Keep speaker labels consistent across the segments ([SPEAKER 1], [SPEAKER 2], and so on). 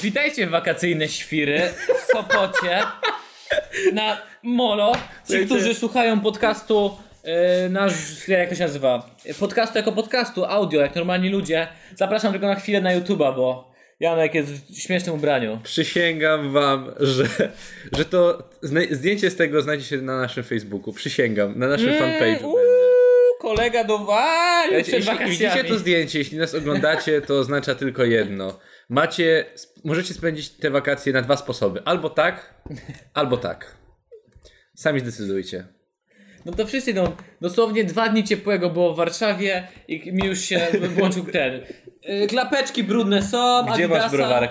[SPEAKER 1] Witajcie wakacyjne świry w Sopocie na Molo. Ci,
[SPEAKER 2] Słuchajcie.
[SPEAKER 1] którzy słuchają podcastu yy, nasz, jak to się nazywa? Podcastu jako podcastu, audio, jak normalni ludzie. Zapraszam tylko na chwilę na YouTube'a, bo Janek jest w śmiesznym ubraniu.
[SPEAKER 2] Przysięgam wam, że, że to zna- zdjęcie z tego znajdziecie na naszym Facebooku. Przysięgam, na naszym fanpage'u.
[SPEAKER 1] Uuu,
[SPEAKER 2] będzie.
[SPEAKER 1] kolega do walił
[SPEAKER 2] Jeśli,
[SPEAKER 1] przed
[SPEAKER 2] jeśli widzicie
[SPEAKER 1] wakacjami.
[SPEAKER 2] to zdjęcie, jeśli nas oglądacie, to oznacza tylko jedno. Macie, sp- możecie spędzić te wakacje na dwa sposoby. Albo tak, albo tak. Sami zdecydujcie.
[SPEAKER 1] No to wszyscy no, dosłownie dwa dni ciepłego było w Warszawie i mi już się włączył ten. Yy, Klapeczki brudne są, Adidasa.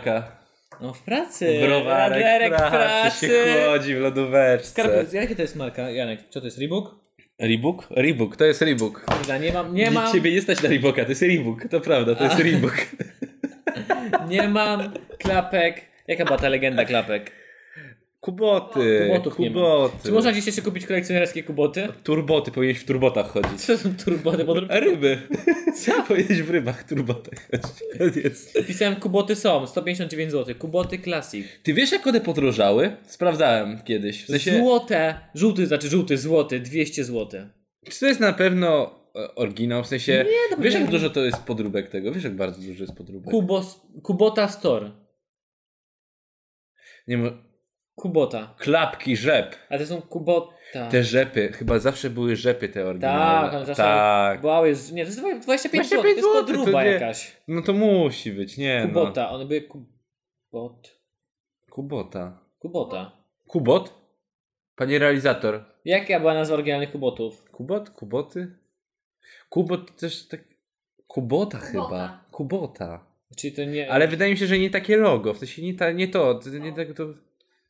[SPEAKER 1] No w pracy. Raderek w pracy.
[SPEAKER 2] chłodzi w lodóweczce.
[SPEAKER 1] Skarpet, jakie to jest marka, Janek? Co to jest, Reebok?
[SPEAKER 2] Reebok? Reebok, to jest Reebok.
[SPEAKER 1] Kurde, nie mam, nie mam,
[SPEAKER 2] Ciebie nie stać na Reeboka, to jest Reebok, to prawda, to jest Reebok.
[SPEAKER 1] nie mam klapek. Jaka była ta legenda klapek?
[SPEAKER 2] Kuboty,
[SPEAKER 1] Kubotów nie ma.
[SPEAKER 2] kuboty.
[SPEAKER 1] Czy można gdzieś jeszcze kupić kolekcjonerskie kuboty?
[SPEAKER 2] Turboty, powinieneś w turbotach chodzić.
[SPEAKER 1] Co są turboty? Bo
[SPEAKER 2] A Ryby. Co powiedzieć w rybach, turbotach? Koniec.
[SPEAKER 1] pisałem kuboty są, 159 zł. Kuboty Classic.
[SPEAKER 2] Ty wiesz, jak one podróżały? Sprawdzałem kiedyś. W sensie,
[SPEAKER 1] Złote, żółty, znaczy żółty, złoty, 200 zł.
[SPEAKER 2] czy to jest na pewno e, oryginał? W sensie,
[SPEAKER 1] no bo
[SPEAKER 2] wiesz,
[SPEAKER 1] nie
[SPEAKER 2] jak
[SPEAKER 1] wiem.
[SPEAKER 2] dużo to jest podróbek tego? Wiesz, jak bardzo dużo jest podróbek?
[SPEAKER 1] Kubos, Kubota Store.
[SPEAKER 2] Nie mo-
[SPEAKER 1] Kubota.
[SPEAKER 2] klapki, rzep.
[SPEAKER 1] A to są Kubota.
[SPEAKER 2] Te rzepy, chyba zawsze były rzepy te oryginalne.
[SPEAKER 1] Tak, on zawsze
[SPEAKER 2] tak.
[SPEAKER 1] Wow, jest, nie, to jest 25 zł, to
[SPEAKER 2] 25
[SPEAKER 1] jest
[SPEAKER 2] zł,
[SPEAKER 1] podruba
[SPEAKER 2] to nie-
[SPEAKER 1] jakaś.
[SPEAKER 2] No to musi być, nie
[SPEAKER 1] Kubota, one były Kubot.
[SPEAKER 2] no. Kubota.
[SPEAKER 1] Kubota.
[SPEAKER 2] Kubot? Panie realizator.
[SPEAKER 1] Jaka była nazwa oryginalnych kubotów?
[SPEAKER 2] Kubot? Kuboty? Kubot też tak... Kubota chyba. Kubota.
[SPEAKER 1] Czyli to nie.
[SPEAKER 2] Ale wydaje mi się, że nie takie logo, w sensie nie, ta, nie to, to- nie tak, to,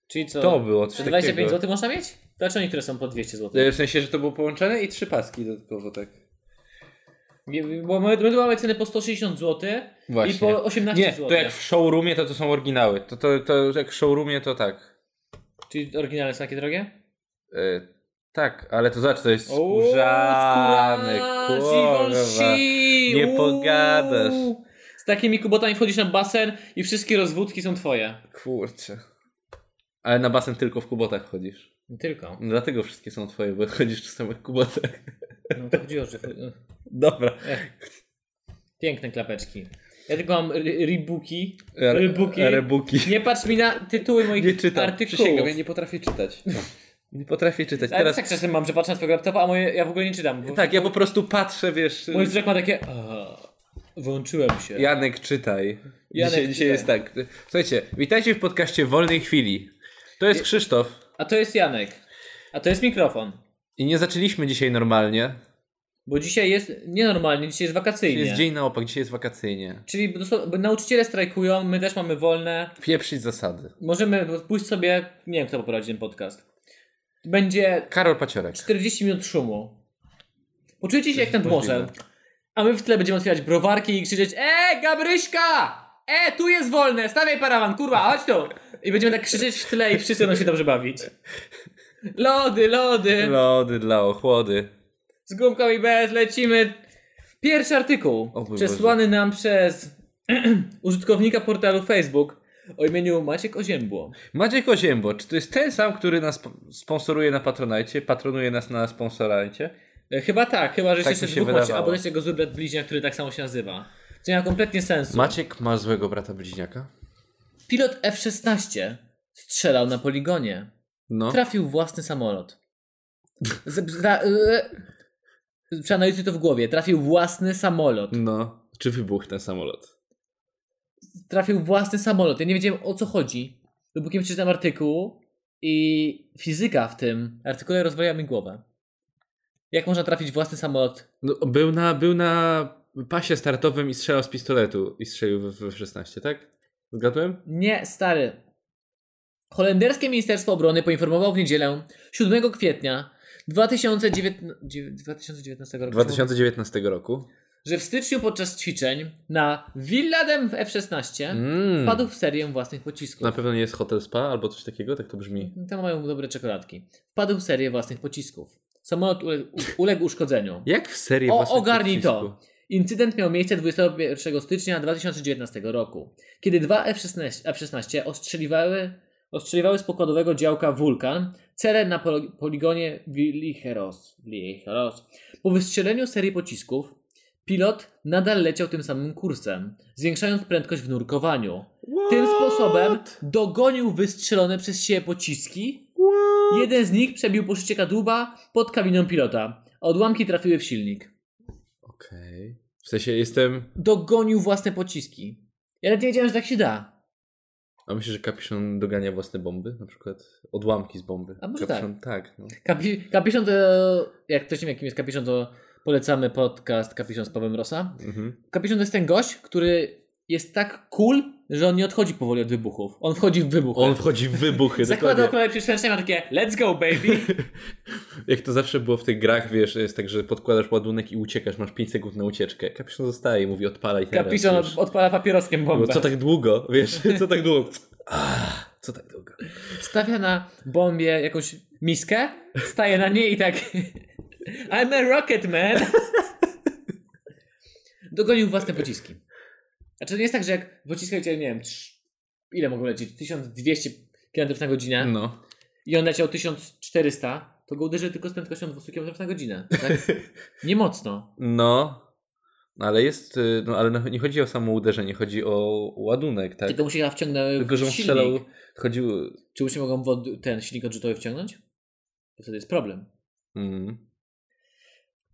[SPEAKER 1] czyli co?
[SPEAKER 2] to było, coś
[SPEAKER 1] Czy 25
[SPEAKER 2] takiego. E,
[SPEAKER 1] zł można mieć? Dlaczego niektóre są po 200 zł?
[SPEAKER 2] W sensie, że to było połączone i trzy paski dodatkowo, tak.
[SPEAKER 1] Bo my, my tu mamy ceny po 160 zł i
[SPEAKER 2] Właśnie.
[SPEAKER 1] po 18
[SPEAKER 2] Nie,
[SPEAKER 1] zł.
[SPEAKER 2] to jak w showroomie to to są oryginały, to, to, to jak w showroomie to tak.
[SPEAKER 1] Czyli oryginalne są takie drogie?
[SPEAKER 2] E, tak, ale to zobacz, to jest
[SPEAKER 1] Uuu,
[SPEAKER 2] skórzany,
[SPEAKER 1] skóra,
[SPEAKER 2] kurwa.
[SPEAKER 1] Givenchy,
[SPEAKER 2] Nie
[SPEAKER 1] uuu.
[SPEAKER 2] pogadasz.
[SPEAKER 1] Z takimi kubotami wchodzisz na basen i wszystkie rozwódki są twoje.
[SPEAKER 2] Kurczę. Ale na basen tylko w kubotach chodzisz.
[SPEAKER 1] Nie tylko.
[SPEAKER 2] No dlatego wszystkie są twoje, bo chodzisz w samych kubotach.
[SPEAKER 1] No to chodziło, że...
[SPEAKER 2] tak. Dobra.
[SPEAKER 1] Piękne klapeczki. Ja tylko mam ry- ribuki.
[SPEAKER 2] Re-
[SPEAKER 1] Rybuki.
[SPEAKER 2] Rebuki.
[SPEAKER 1] Nie patrz mi na tytuły moich
[SPEAKER 2] Nie czytam.
[SPEAKER 1] artykułów.
[SPEAKER 2] Przysięgam, ja nie potrafię czytać. Nie potrafię czytać.
[SPEAKER 1] Ale
[SPEAKER 2] Teraz
[SPEAKER 1] tak czasem mam, że patrzę na twojego laptopa, a moje, ja w ogóle nie czytam. Bo
[SPEAKER 2] tak, ja po prostu patrzę, wiesz.
[SPEAKER 1] Mój wzrok ma takie... "A, Włączyłem się.
[SPEAKER 2] Janek czytaj.
[SPEAKER 1] Janek,
[SPEAKER 2] dzisiaj, dzisiaj
[SPEAKER 1] czytaj.
[SPEAKER 2] jest tak. Słuchajcie, witajcie w podcaście Wolnej Chwili. To jest Krzysztof.
[SPEAKER 1] A to jest Janek. A to jest mikrofon.
[SPEAKER 2] I nie zaczęliśmy dzisiaj normalnie.
[SPEAKER 1] Bo dzisiaj jest nienormalnie, dzisiaj jest wakacyjnie.
[SPEAKER 2] Dzisiaj jest dzień na opak, dzisiaj jest wakacyjnie.
[SPEAKER 1] Czyli dosłownie- bo nauczyciele strajkują, my też mamy wolne.
[SPEAKER 2] Pieprzyć zasady.
[SPEAKER 1] Możemy pójść sobie... Nie wiem, kto poprowadzi ten podcast. Będzie
[SPEAKER 2] Karol Paciorek.
[SPEAKER 1] 40 minut szumu. Poczujecie się jak nad
[SPEAKER 2] możliwe.
[SPEAKER 1] morzem. A my w tle będziemy otwierać browarki i krzyczeć E, Gabryśka! E, tu jest wolne! Stawiaj parawan, kurwa, chodź tu! I będziemy tak krzyczeć w tle i wszyscy będą się dobrze bawić. Lody, lody!
[SPEAKER 2] Lody dla ochłody.
[SPEAKER 1] Z gumką i bez lecimy. Pierwszy artykuł.
[SPEAKER 2] O mój
[SPEAKER 1] przesłany nam przez użytkownika portalu Facebook o imieniu Maciek Oziębło.
[SPEAKER 2] Maciek Oziębo, czy to jest ten sam, który nas sp- sponsoruje na Patronajcie? Patronuje nas na sponsorajcie?
[SPEAKER 1] E, Chyba tak, chyba że
[SPEAKER 2] Tak
[SPEAKER 1] jeszcze
[SPEAKER 2] mi się
[SPEAKER 1] dwóch Maciek,
[SPEAKER 2] wydawało.
[SPEAKER 1] albo jeszcze jego zły brat bliźniak, który tak samo się nazywa. Co nie ma kompletnie sensu.
[SPEAKER 2] Maciek ma złego brata bliźniaka?
[SPEAKER 1] Pilot F-16 strzelał na poligonie.
[SPEAKER 2] No.
[SPEAKER 1] Trafił własny samolot. Z, zra, e, y, przeanalizuj to w głowie. Trafił własny samolot.
[SPEAKER 2] No. Czy wybuchł ten samolot?
[SPEAKER 1] Trafił własny samolot. Ja nie wiedziałem o co chodzi. Dopóki nie przeczytałem artykuł i fizyka w tym artykule rozwaliła mi głowę. Jak można trafić własny samolot?
[SPEAKER 2] No, był, na, był na pasie startowym i strzelał z pistoletu i strzelił w, w 16, tak? Zgadłem?
[SPEAKER 1] Nie, stary. Holenderskie Ministerstwo Obrony poinformowało w niedzielę 7 kwietnia 2019, 2019 roku,
[SPEAKER 2] 2019 roku.
[SPEAKER 1] że w styczniu podczas ćwiczeń na Villadem w F-16
[SPEAKER 2] Mm.
[SPEAKER 1] Hmm. wpadł w serię własnych pocisków.
[SPEAKER 2] Na pewno nie jest hotel spa albo coś takiego, tak to brzmi.
[SPEAKER 1] Tam mają dobre czekoladki. Wpadł w serię własnych pocisków. Samolot ule- u- uległ uszkodzeniu.
[SPEAKER 2] Jak w serii
[SPEAKER 1] O,
[SPEAKER 2] własnych
[SPEAKER 1] ogarnij
[SPEAKER 2] pocisku?
[SPEAKER 1] to. Incydent miał miejsce 21 stycznia 2019 roku, kiedy dwa F-16 F-16 ostrzeliwały, ostrzeliwały z pokładowego działka Wulkan cele na pol- poligonie Wilicheros. Wilicheros. Po wystrzeleniu serii pocisków pilot nadal leciał tym samym kursem, zwiększając prędkość w nurkowaniu. Tym sposobem dogonił wystrzelone przez siebie pociski. Jeden z nich przebił poszycie kadłuba pod kabiną pilota. a Odłamki trafiły w silnik.
[SPEAKER 2] Okej. W sensie jestem...
[SPEAKER 1] Dogonił własne pociski. Ja nawet nie wiedziałem, że tak się da.
[SPEAKER 2] A myślę, że kapiszon dogania własne bomby? Na przykład odłamki z bomby.
[SPEAKER 1] A może
[SPEAKER 2] kapiszon, tak. no.
[SPEAKER 1] Kapi- kapiszon to... Jak ktoś nie wie, kim jest kapiszon, to polecamy podcast Kapiszon z Pawłem Rosa.
[SPEAKER 2] Mhm.
[SPEAKER 1] Kapiszon to jest ten gość, który jest tak cool, że on nie odchodzi powoli od wybuchów. On wchodzi w wybuch.
[SPEAKER 2] On wchodzi w wybuchy,
[SPEAKER 1] Zakłada
[SPEAKER 2] dokładnie.
[SPEAKER 1] okulary przysłoneczne ma takie let's go baby.
[SPEAKER 2] Jak to zawsze było w tych grach, wiesz, jest tak, że podkładasz ładunek i uciekasz, masz 5 sekund na ucieczkę. Kapiszon zostaje i mówi odpalaj teraz.
[SPEAKER 1] Kapiszon
[SPEAKER 2] już.
[SPEAKER 1] od- odpala papieroskiem
[SPEAKER 2] Bo
[SPEAKER 1] bombę.
[SPEAKER 2] co tak długo, wiesz, co tak długo. Ah, Co tak długo.
[SPEAKER 1] Stawia na bombie jakąś miskę, staje na niej i tak I'm a rocket man. Dogonił własne pociski. Znaczy nie jest tak, że jak pociski leciały, nie wiem, trz- ile mogą lecieć? 1200 km na godzinę
[SPEAKER 2] No.
[SPEAKER 1] i on leciał 1400, to go uderzy tylko z prędkością 200 km na godzinę. Tak? Nie mocno.
[SPEAKER 2] No. No, Ale jest, y, no ale nie chodzi o samo uderzenie, chodzi o ładunek, tak?
[SPEAKER 1] Tylko mu się ja wciągnę
[SPEAKER 2] Tylko, że on
[SPEAKER 1] w silnik.
[SPEAKER 2] strzelał, chodził...
[SPEAKER 1] Czy mu się mogą wod- ten silnik odrzutowy wciągnąć? To wtedy jest problem.
[SPEAKER 2] Mm.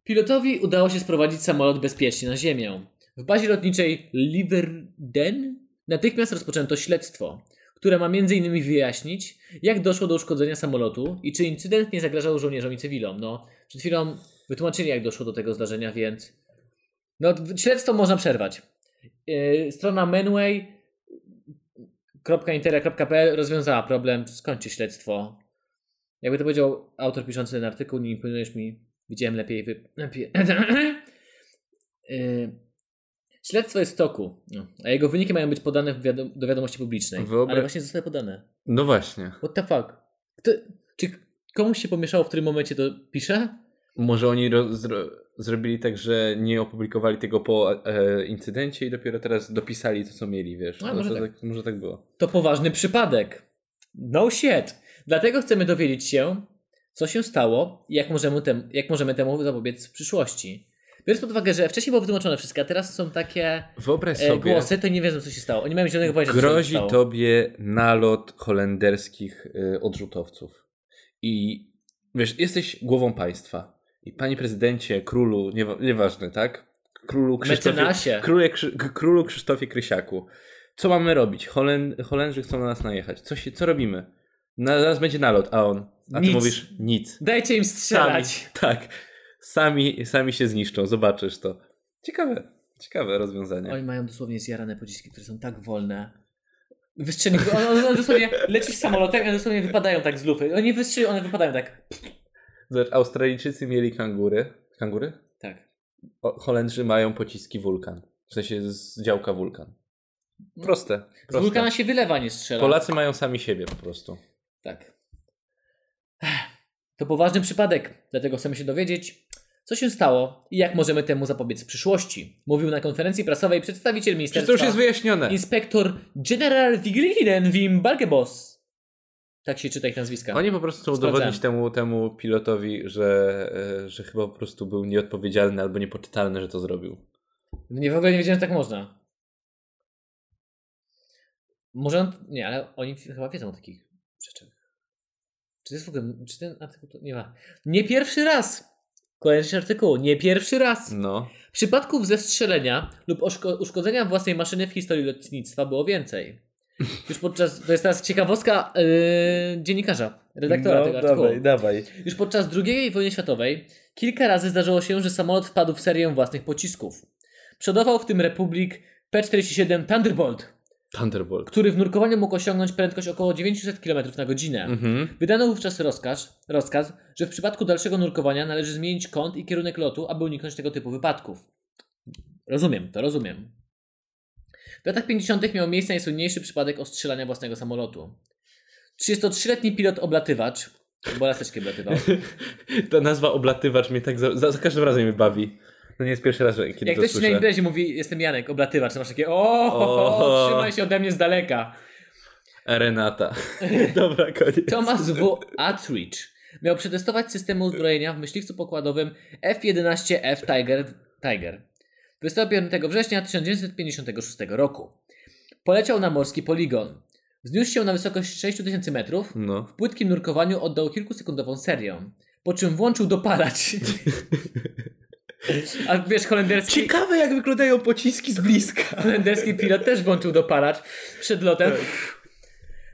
[SPEAKER 1] Pilotowi udało się sprowadzić samolot bezpiecznie na ziemię. W bazie lotniczej Liverden natychmiast rozpoczęto śledztwo, które ma m.in. wyjaśnić, jak doszło do uszkodzenia samolotu i czy incydent nie zagrażał żołnierzom i cywilom. No, przed chwilą wytłumaczyli, jak doszło do tego zdarzenia, więc. No, w- śledztwo można przerwać. Yy, strona manway.intera.pl rozwiązała problem, skończy śledztwo. Jakby to powiedział autor piszący ten artykuł, nie imponujesz mi, widziałem lepiej wy... lepiej- Yy, Śledztwo jest w toku, no, a jego wyniki mają być podane w wiado- do wiadomości publicznej.
[SPEAKER 2] Wyobra-
[SPEAKER 1] Ale właśnie zostały podane.
[SPEAKER 2] No właśnie.
[SPEAKER 1] What the fuck? Kto, czy komuś się pomieszało, w którym momencie to pisze?
[SPEAKER 2] Może oni ro- zro- zrobili tak, że nie opublikowali tego po e, incydencie i dopiero teraz dopisali to, co mieli, wiesz.
[SPEAKER 1] A,
[SPEAKER 2] No
[SPEAKER 1] może
[SPEAKER 2] to
[SPEAKER 1] tak.
[SPEAKER 2] Może tak było.
[SPEAKER 1] To poważny przypadek. No shit. Dlatego chcemy dowiedzieć się, co się stało i jak możemy, tem, jak możemy temu zapobiec w przyszłości. Biorąc pod uwagę, że wcześniej było wytłumaczone wszystko, a teraz są takie
[SPEAKER 2] Wyobraź
[SPEAKER 1] e,
[SPEAKER 2] sobie,
[SPEAKER 1] głosy, to nie wiedzą, co się stało. Oni nie mają zielonego pojęcia, co się
[SPEAKER 2] grozi
[SPEAKER 1] stało.
[SPEAKER 2] tobie nalot holenderskich y, odrzutowców. I wiesz, jesteś głową państwa. I panie prezydencie, królu, nie, nieważne, tak? Królu Krzysztofie,
[SPEAKER 1] Mecenasie.
[SPEAKER 2] króle, Krzy- K- królu Krzysztofie Krysiaku. Co mamy robić? Holen, Holendrzy chcą na nas najechać. Co, się, co robimy? Na, zaraz będzie nalot, a on. A ty
[SPEAKER 1] Nic.
[SPEAKER 2] mówisz nic.
[SPEAKER 1] Dajcie im strzelać.
[SPEAKER 2] Tak. Sami, sami się zniszczą, zobaczysz to. Ciekawe, ciekawe rozwiązanie.
[SPEAKER 1] Oni mają dosłownie zjarane pociski, które są tak wolne. Wystrzeli, one, one, one dosłownie lecisz samolotem i one dosłownie wypadają tak z lufy. Oni wystrzeli, one wypadają tak.
[SPEAKER 2] Zobacz, Australijczycy mieli kangury. Kangury?
[SPEAKER 1] Tak.
[SPEAKER 2] O, Holendrzy mają pociski wulkan. W sensie z działka wulkan. Proste.
[SPEAKER 1] Z
[SPEAKER 2] proste.
[SPEAKER 1] wulkana się wylewa, nie strzela.
[SPEAKER 2] Polacy mają sami siebie po prostu.
[SPEAKER 1] Tak. Ech, To poważny przypadek, dlatego chcemy się dowiedzieć, co się stało i jak możemy temu zapobiec w przyszłości. Mówił na konferencji prasowej przedstawiciel
[SPEAKER 2] Czy
[SPEAKER 1] ministerstwa
[SPEAKER 2] to już jest wyjaśnione?
[SPEAKER 1] inspektor General Wigliden Wim Balkebos. Tak się czyta ich nazwiska.
[SPEAKER 2] Oni po prostu chcą
[SPEAKER 1] Sprawdzałem.
[SPEAKER 2] udowodnić temu, temu pilotowi, że, e, że chyba po prostu był nieodpowiedzialny albo niepoczytalny, że to zrobił.
[SPEAKER 1] Nie, w ogóle nie wiedziałem, że tak można. Może on... Nie, ale oni f- chyba wiedzą o takich rzeczach. Czy to jest w ogóle... Czy ten artykuł... To... Nie ma. Nie pierwszy raz! Kolejny artykuł. Nie pierwszy raz!
[SPEAKER 2] No.
[SPEAKER 1] Przypadków zestrzelenia lub oszko- uszkodzenia własnej maszyny w historii lotnictwa było więcej. Już podczas... To jest teraz ciekawostka yy, dziennikarza, redaktora tego artykułu.
[SPEAKER 2] No, dawaj.
[SPEAKER 1] Już podczas II wojny światowej kilka razy zdarzyło się, że samolot wpadł w serię własnych pocisków. Przodował w tym Republik P-47 Thunderbolt,
[SPEAKER 2] Thunderbolt.
[SPEAKER 1] który w nurkowaniu mógł osiągnąć prędkość około 900 km na godzinę.
[SPEAKER 2] Mhm.
[SPEAKER 1] Wydano wówczas rozkaz, rozkaz, że w przypadku dalszego nurkowania należy zmienić kąt i kierunek lotu, aby uniknąć tego typu wypadków. Rozumiem, to rozumiem. W latach 50. miał miejsce najsłynniejszy przypadek ostrzelania własnego samolotu. 33-letni pilot oblatywacz, bo laseczki oblatywał,
[SPEAKER 2] Ta nazwa oblatywacz mnie tak za, za, za każdym razem mnie bawi. To nie jest pierwszy raz, że- kiedy
[SPEAKER 1] Jak
[SPEAKER 2] to
[SPEAKER 1] ktoś ci na
[SPEAKER 2] słyszę.
[SPEAKER 1] imprezie mówi, jestem Janek, oblatywacz, to masz takie, o,
[SPEAKER 2] O.
[SPEAKER 1] trzymaj się ode mnie z daleka.
[SPEAKER 2] Renata. Dobra, koniec.
[SPEAKER 1] Thomas W. Attridge miał przetestować systemy uzbrojenia w myśliwcu pokładowym F-11F Tiger. Tiger. 25 września 1956 roku. Poleciał na morski poligon. Wzniósł się na wysokość 6000 metrów.
[SPEAKER 2] No.
[SPEAKER 1] W płytkim nurkowaniu oddał kilkusekundową serię. Po czym włączył dopalacz. A wiesz, holenderski...
[SPEAKER 2] Ciekawe, jak wyglądają pociski z bliska.
[SPEAKER 1] Holenderski pilot też włączył dopalacz przed lotem.
[SPEAKER 2] Tak.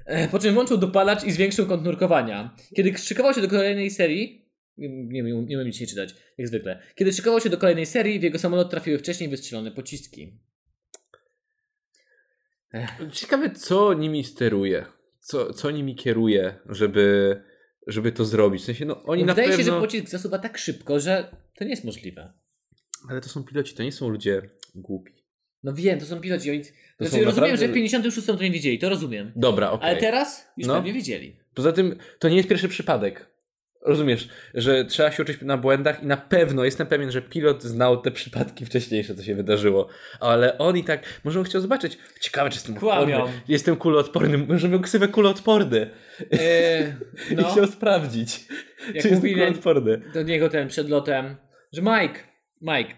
[SPEAKER 1] E, Po czym włączył dopalacz i zwiększył kąt nurkowania. Kiedy szykował się do kolejnej serii. Nie, nie, umiem- nie umiem dzisiaj czytać, jak zwykle. Kiedy szykował się do kolejnej serii, w jego samolot trafiły wcześniej wystrzelone pociski.
[SPEAKER 2] Ciekawe, co nimi steruje. Co, co nimi kieruje, żeby, żeby to zrobić. W sensie, no oni
[SPEAKER 1] Wydaje
[SPEAKER 2] na
[SPEAKER 1] się,
[SPEAKER 2] pewno...
[SPEAKER 1] że pocisk zasuwa tak szybko, że to nie jest możliwe.
[SPEAKER 2] Ale to są piloci, to nie są ludzie głupi.
[SPEAKER 1] No wiem, to są piloci. Oni...
[SPEAKER 2] To
[SPEAKER 1] Znaczy,
[SPEAKER 2] są
[SPEAKER 1] rozumiem,
[SPEAKER 2] naprawdę-
[SPEAKER 1] że w 56 to nie widzieli, to rozumiem.
[SPEAKER 2] Dobra, okej.
[SPEAKER 1] Ale teraz już
[SPEAKER 2] No.
[SPEAKER 1] pewnie wiedzieli.
[SPEAKER 2] Poza tym to nie jest pierwszy przypadek. Rozumiesz, że trzeba się uczyć na błędach i na pewno jestem pewien, że pilot znał te przypadki wcześniejsze, co się wydarzyło. Ale on i tak, może on chciał zobaczyć. Ciekawe, czy jestem
[SPEAKER 1] Kłamią.
[SPEAKER 2] odporny. Jestem kuloodporny, może miał ksywę kuloodporny. I
[SPEAKER 1] no,
[SPEAKER 2] chciał sprawdzić,
[SPEAKER 1] jak
[SPEAKER 2] czy
[SPEAKER 1] mówi
[SPEAKER 2] jestem kuloodporny.
[SPEAKER 1] do niego ten przed lotem, że Mike, Mike,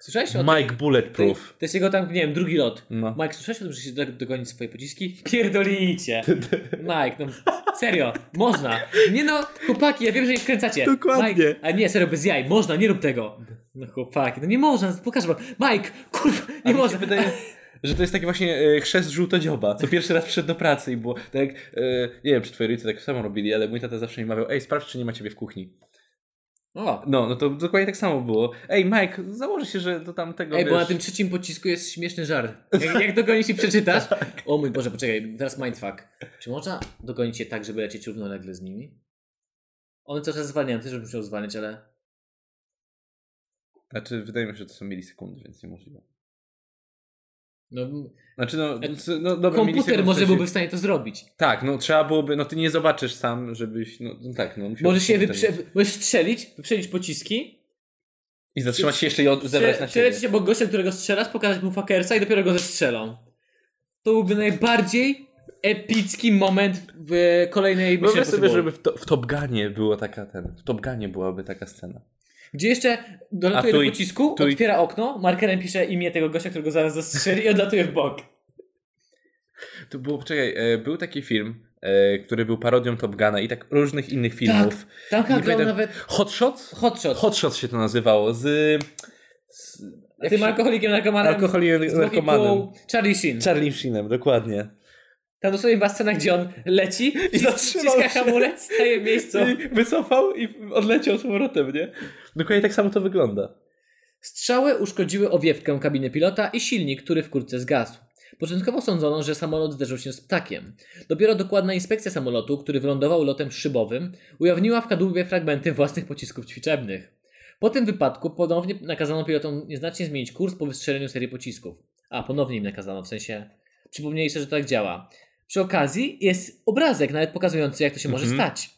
[SPEAKER 1] słyszałeś o tym?
[SPEAKER 2] Mike
[SPEAKER 1] To,
[SPEAKER 2] Bulletproof.
[SPEAKER 1] to jest jego tam, nie wiem, drugi lot.
[SPEAKER 2] No.
[SPEAKER 1] Mike, słyszałeś o tym, że się do- dogonić swoje pociski? Pierdolicie. Mike, no serio, można. Nie no, chłopaki, ja wiem, że ich kręcacie.
[SPEAKER 2] Dokładnie.
[SPEAKER 1] Mike, a nie, serio, bez jaj, można, nie rób tego. No chłopaki, no nie można, pokażę wam. Mike, kurwa,
[SPEAKER 2] A
[SPEAKER 1] nie
[SPEAKER 2] mi się
[SPEAKER 1] można.
[SPEAKER 2] wydaje, że to jest taki właśnie e, chrzest żółtodzioba, co pierwszy raz przyszedł do pracy i było tak, jak, e, nie wiem, czy twoi rodzice tak samo robili, ale mój tata zawsze mi mawiał, ej, sprawdź, czy nie ma ciebie w kuchni.
[SPEAKER 1] O.
[SPEAKER 2] No, no to dokładnie tak samo było. Ej, Mike, założę się, że do tamtego.
[SPEAKER 1] Ej,
[SPEAKER 2] wiesz...
[SPEAKER 1] bo na tym trzecim pocisku jest śmieszny żart. Jak, jak dogonić i przeczytasz?
[SPEAKER 2] Tak.
[SPEAKER 1] O mój Boże, poczekaj, teraz mindfuck. Czy można dogonić je tak, żeby lecieć równolegle z nimi? One cały czas zwalniają, też bym musiał zwalniać, ale...
[SPEAKER 2] Znaczy, wydaje mi się, że to są milisekundy, więc niemożliwe.
[SPEAKER 1] No,
[SPEAKER 2] Znaczy, no, c- no dobra,
[SPEAKER 1] komputer
[SPEAKER 2] milisekund w
[SPEAKER 1] może
[SPEAKER 2] sensie-
[SPEAKER 1] byłby w stanie to zrobić.
[SPEAKER 2] Tak, no trzeba byłoby, no ty nie zobaczysz sam, żebyś, no, no tak, no musiał
[SPEAKER 1] Możesz się wyprze... Możesz strzelić, wyprzelić pociski,
[SPEAKER 2] I zatrzymać się jeszcze i od... zebrać na
[SPEAKER 1] prze-
[SPEAKER 2] siebie.
[SPEAKER 1] przelecieć obok gościa, którego strzelasz, pokazać mu fakersa i dopiero go zestrzelą. To byłby najbardziej epicki moment w e, kolejnej
[SPEAKER 2] Wyobraź
[SPEAKER 1] Mission
[SPEAKER 2] sobie,
[SPEAKER 1] Impossible.
[SPEAKER 2] żeby w, to, w Top Gunie była taka ten, w Top Gunie byłaby taka scena.
[SPEAKER 1] Gdzie jeszcze dolatuje
[SPEAKER 2] A tu
[SPEAKER 1] do
[SPEAKER 2] i-
[SPEAKER 1] pocisku,
[SPEAKER 2] tu i-
[SPEAKER 1] otwiera okno, markerem pisze imię tego gościa, którego zaraz zastrzeli i odlatuje w bok.
[SPEAKER 2] To było, czekaj, e, był taki film, e, który był parodią Top Guna i tak różnych innych filmów.
[SPEAKER 1] Tam
[SPEAKER 2] Nie
[SPEAKER 1] chyba grał
[SPEAKER 2] pamiętam-
[SPEAKER 1] nawet
[SPEAKER 2] Tak. Hot Shots?
[SPEAKER 1] hotshot.
[SPEAKER 2] Hot Shots się to nazywało, z... z
[SPEAKER 1] A Tym alkoholikiem, narkomanem.
[SPEAKER 2] alkoholikiem,
[SPEAKER 1] z dwóch i pół,
[SPEAKER 2] narkomanem.
[SPEAKER 1] Charlie Sheen.
[SPEAKER 2] Charlie Sheenem, dokładnie.
[SPEAKER 1] Tam dosłownie była scena, gdzie on leci i
[SPEAKER 2] zatrzymał
[SPEAKER 1] zatrzymał
[SPEAKER 2] się.
[SPEAKER 1] hamulec, staje w miejscu.
[SPEAKER 2] I wycofał i odleciał z powrotem, nie? Dokładnie tak samo to wygląda.
[SPEAKER 1] Strzały uszkodziły owiewkę kabiny pilota i silnik, który wkrótce zgasł. Początkowo sądzono, że samolot zderzył się z ptakiem. Dopiero dokładna inspekcja samolotu, który wylądował lotem szybowym, ujawniła w kadłubie fragmenty własnych pocisków ćwiczebnych. Po tym wypadku ponownie nakazano pilotom nieznacznie zmienić kurs po wystrzeleniu serii pocisków. A, ponownie im nakazano, w sensie przypomnieli sobie, że tak działa. Przy okazji jest obrazek nawet pokazujący, jak to się może
[SPEAKER 2] Mhm.
[SPEAKER 1] stać.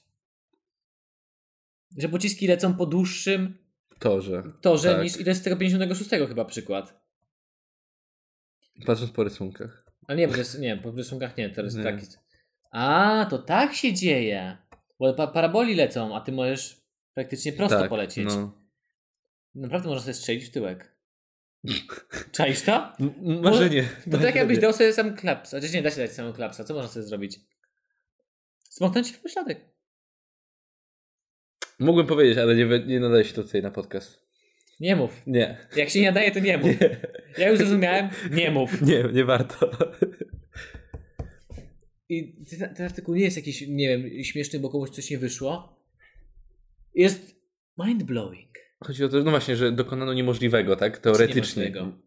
[SPEAKER 1] Że pociski lecą po dłuższym,
[SPEAKER 2] To, że
[SPEAKER 1] torze
[SPEAKER 2] Tak.
[SPEAKER 1] niż i to jest z tego 56 chyba przykład.
[SPEAKER 2] patrząc po rysunkach.
[SPEAKER 1] Ale No nie, bo to jest, nie, po rysunkach nie, to jest
[SPEAKER 2] Nie.
[SPEAKER 1] taki. A, to tak się dzieje. Bo pa paraboli lecą, a ty możesz praktycznie prosto polecieć.
[SPEAKER 2] No.
[SPEAKER 1] Naprawdę można sobie strzelić w tyłek. Czaisz to?
[SPEAKER 2] Tak, Marzenie.
[SPEAKER 1] To tak jakbyś dał sobie sam klaps. Chociaż nie da się dać samego klapsa. Co można sobie zrobić? Smoknąć się w pośladek.
[SPEAKER 2] Mógłbym powiedzieć, ale nie, nie nadaje się to tutaj na podcast.
[SPEAKER 1] Nie mów.
[SPEAKER 2] Nie.
[SPEAKER 1] Jak się nie nadaje, to nie mów.
[SPEAKER 2] Nie,
[SPEAKER 1] Ja już zrozumiałem. Nie mów.
[SPEAKER 2] nie, nie warto.
[SPEAKER 1] I ten, ten artykuł nie jest jakiś, nie wiem, śmieszny, bo komuś coś nie wyszło. Jest mind-blowing.
[SPEAKER 2] Chodzi o to, no właśnie, że dokonano niemożliwego, tak? Teoretycznie.
[SPEAKER 1] Niemożliwego.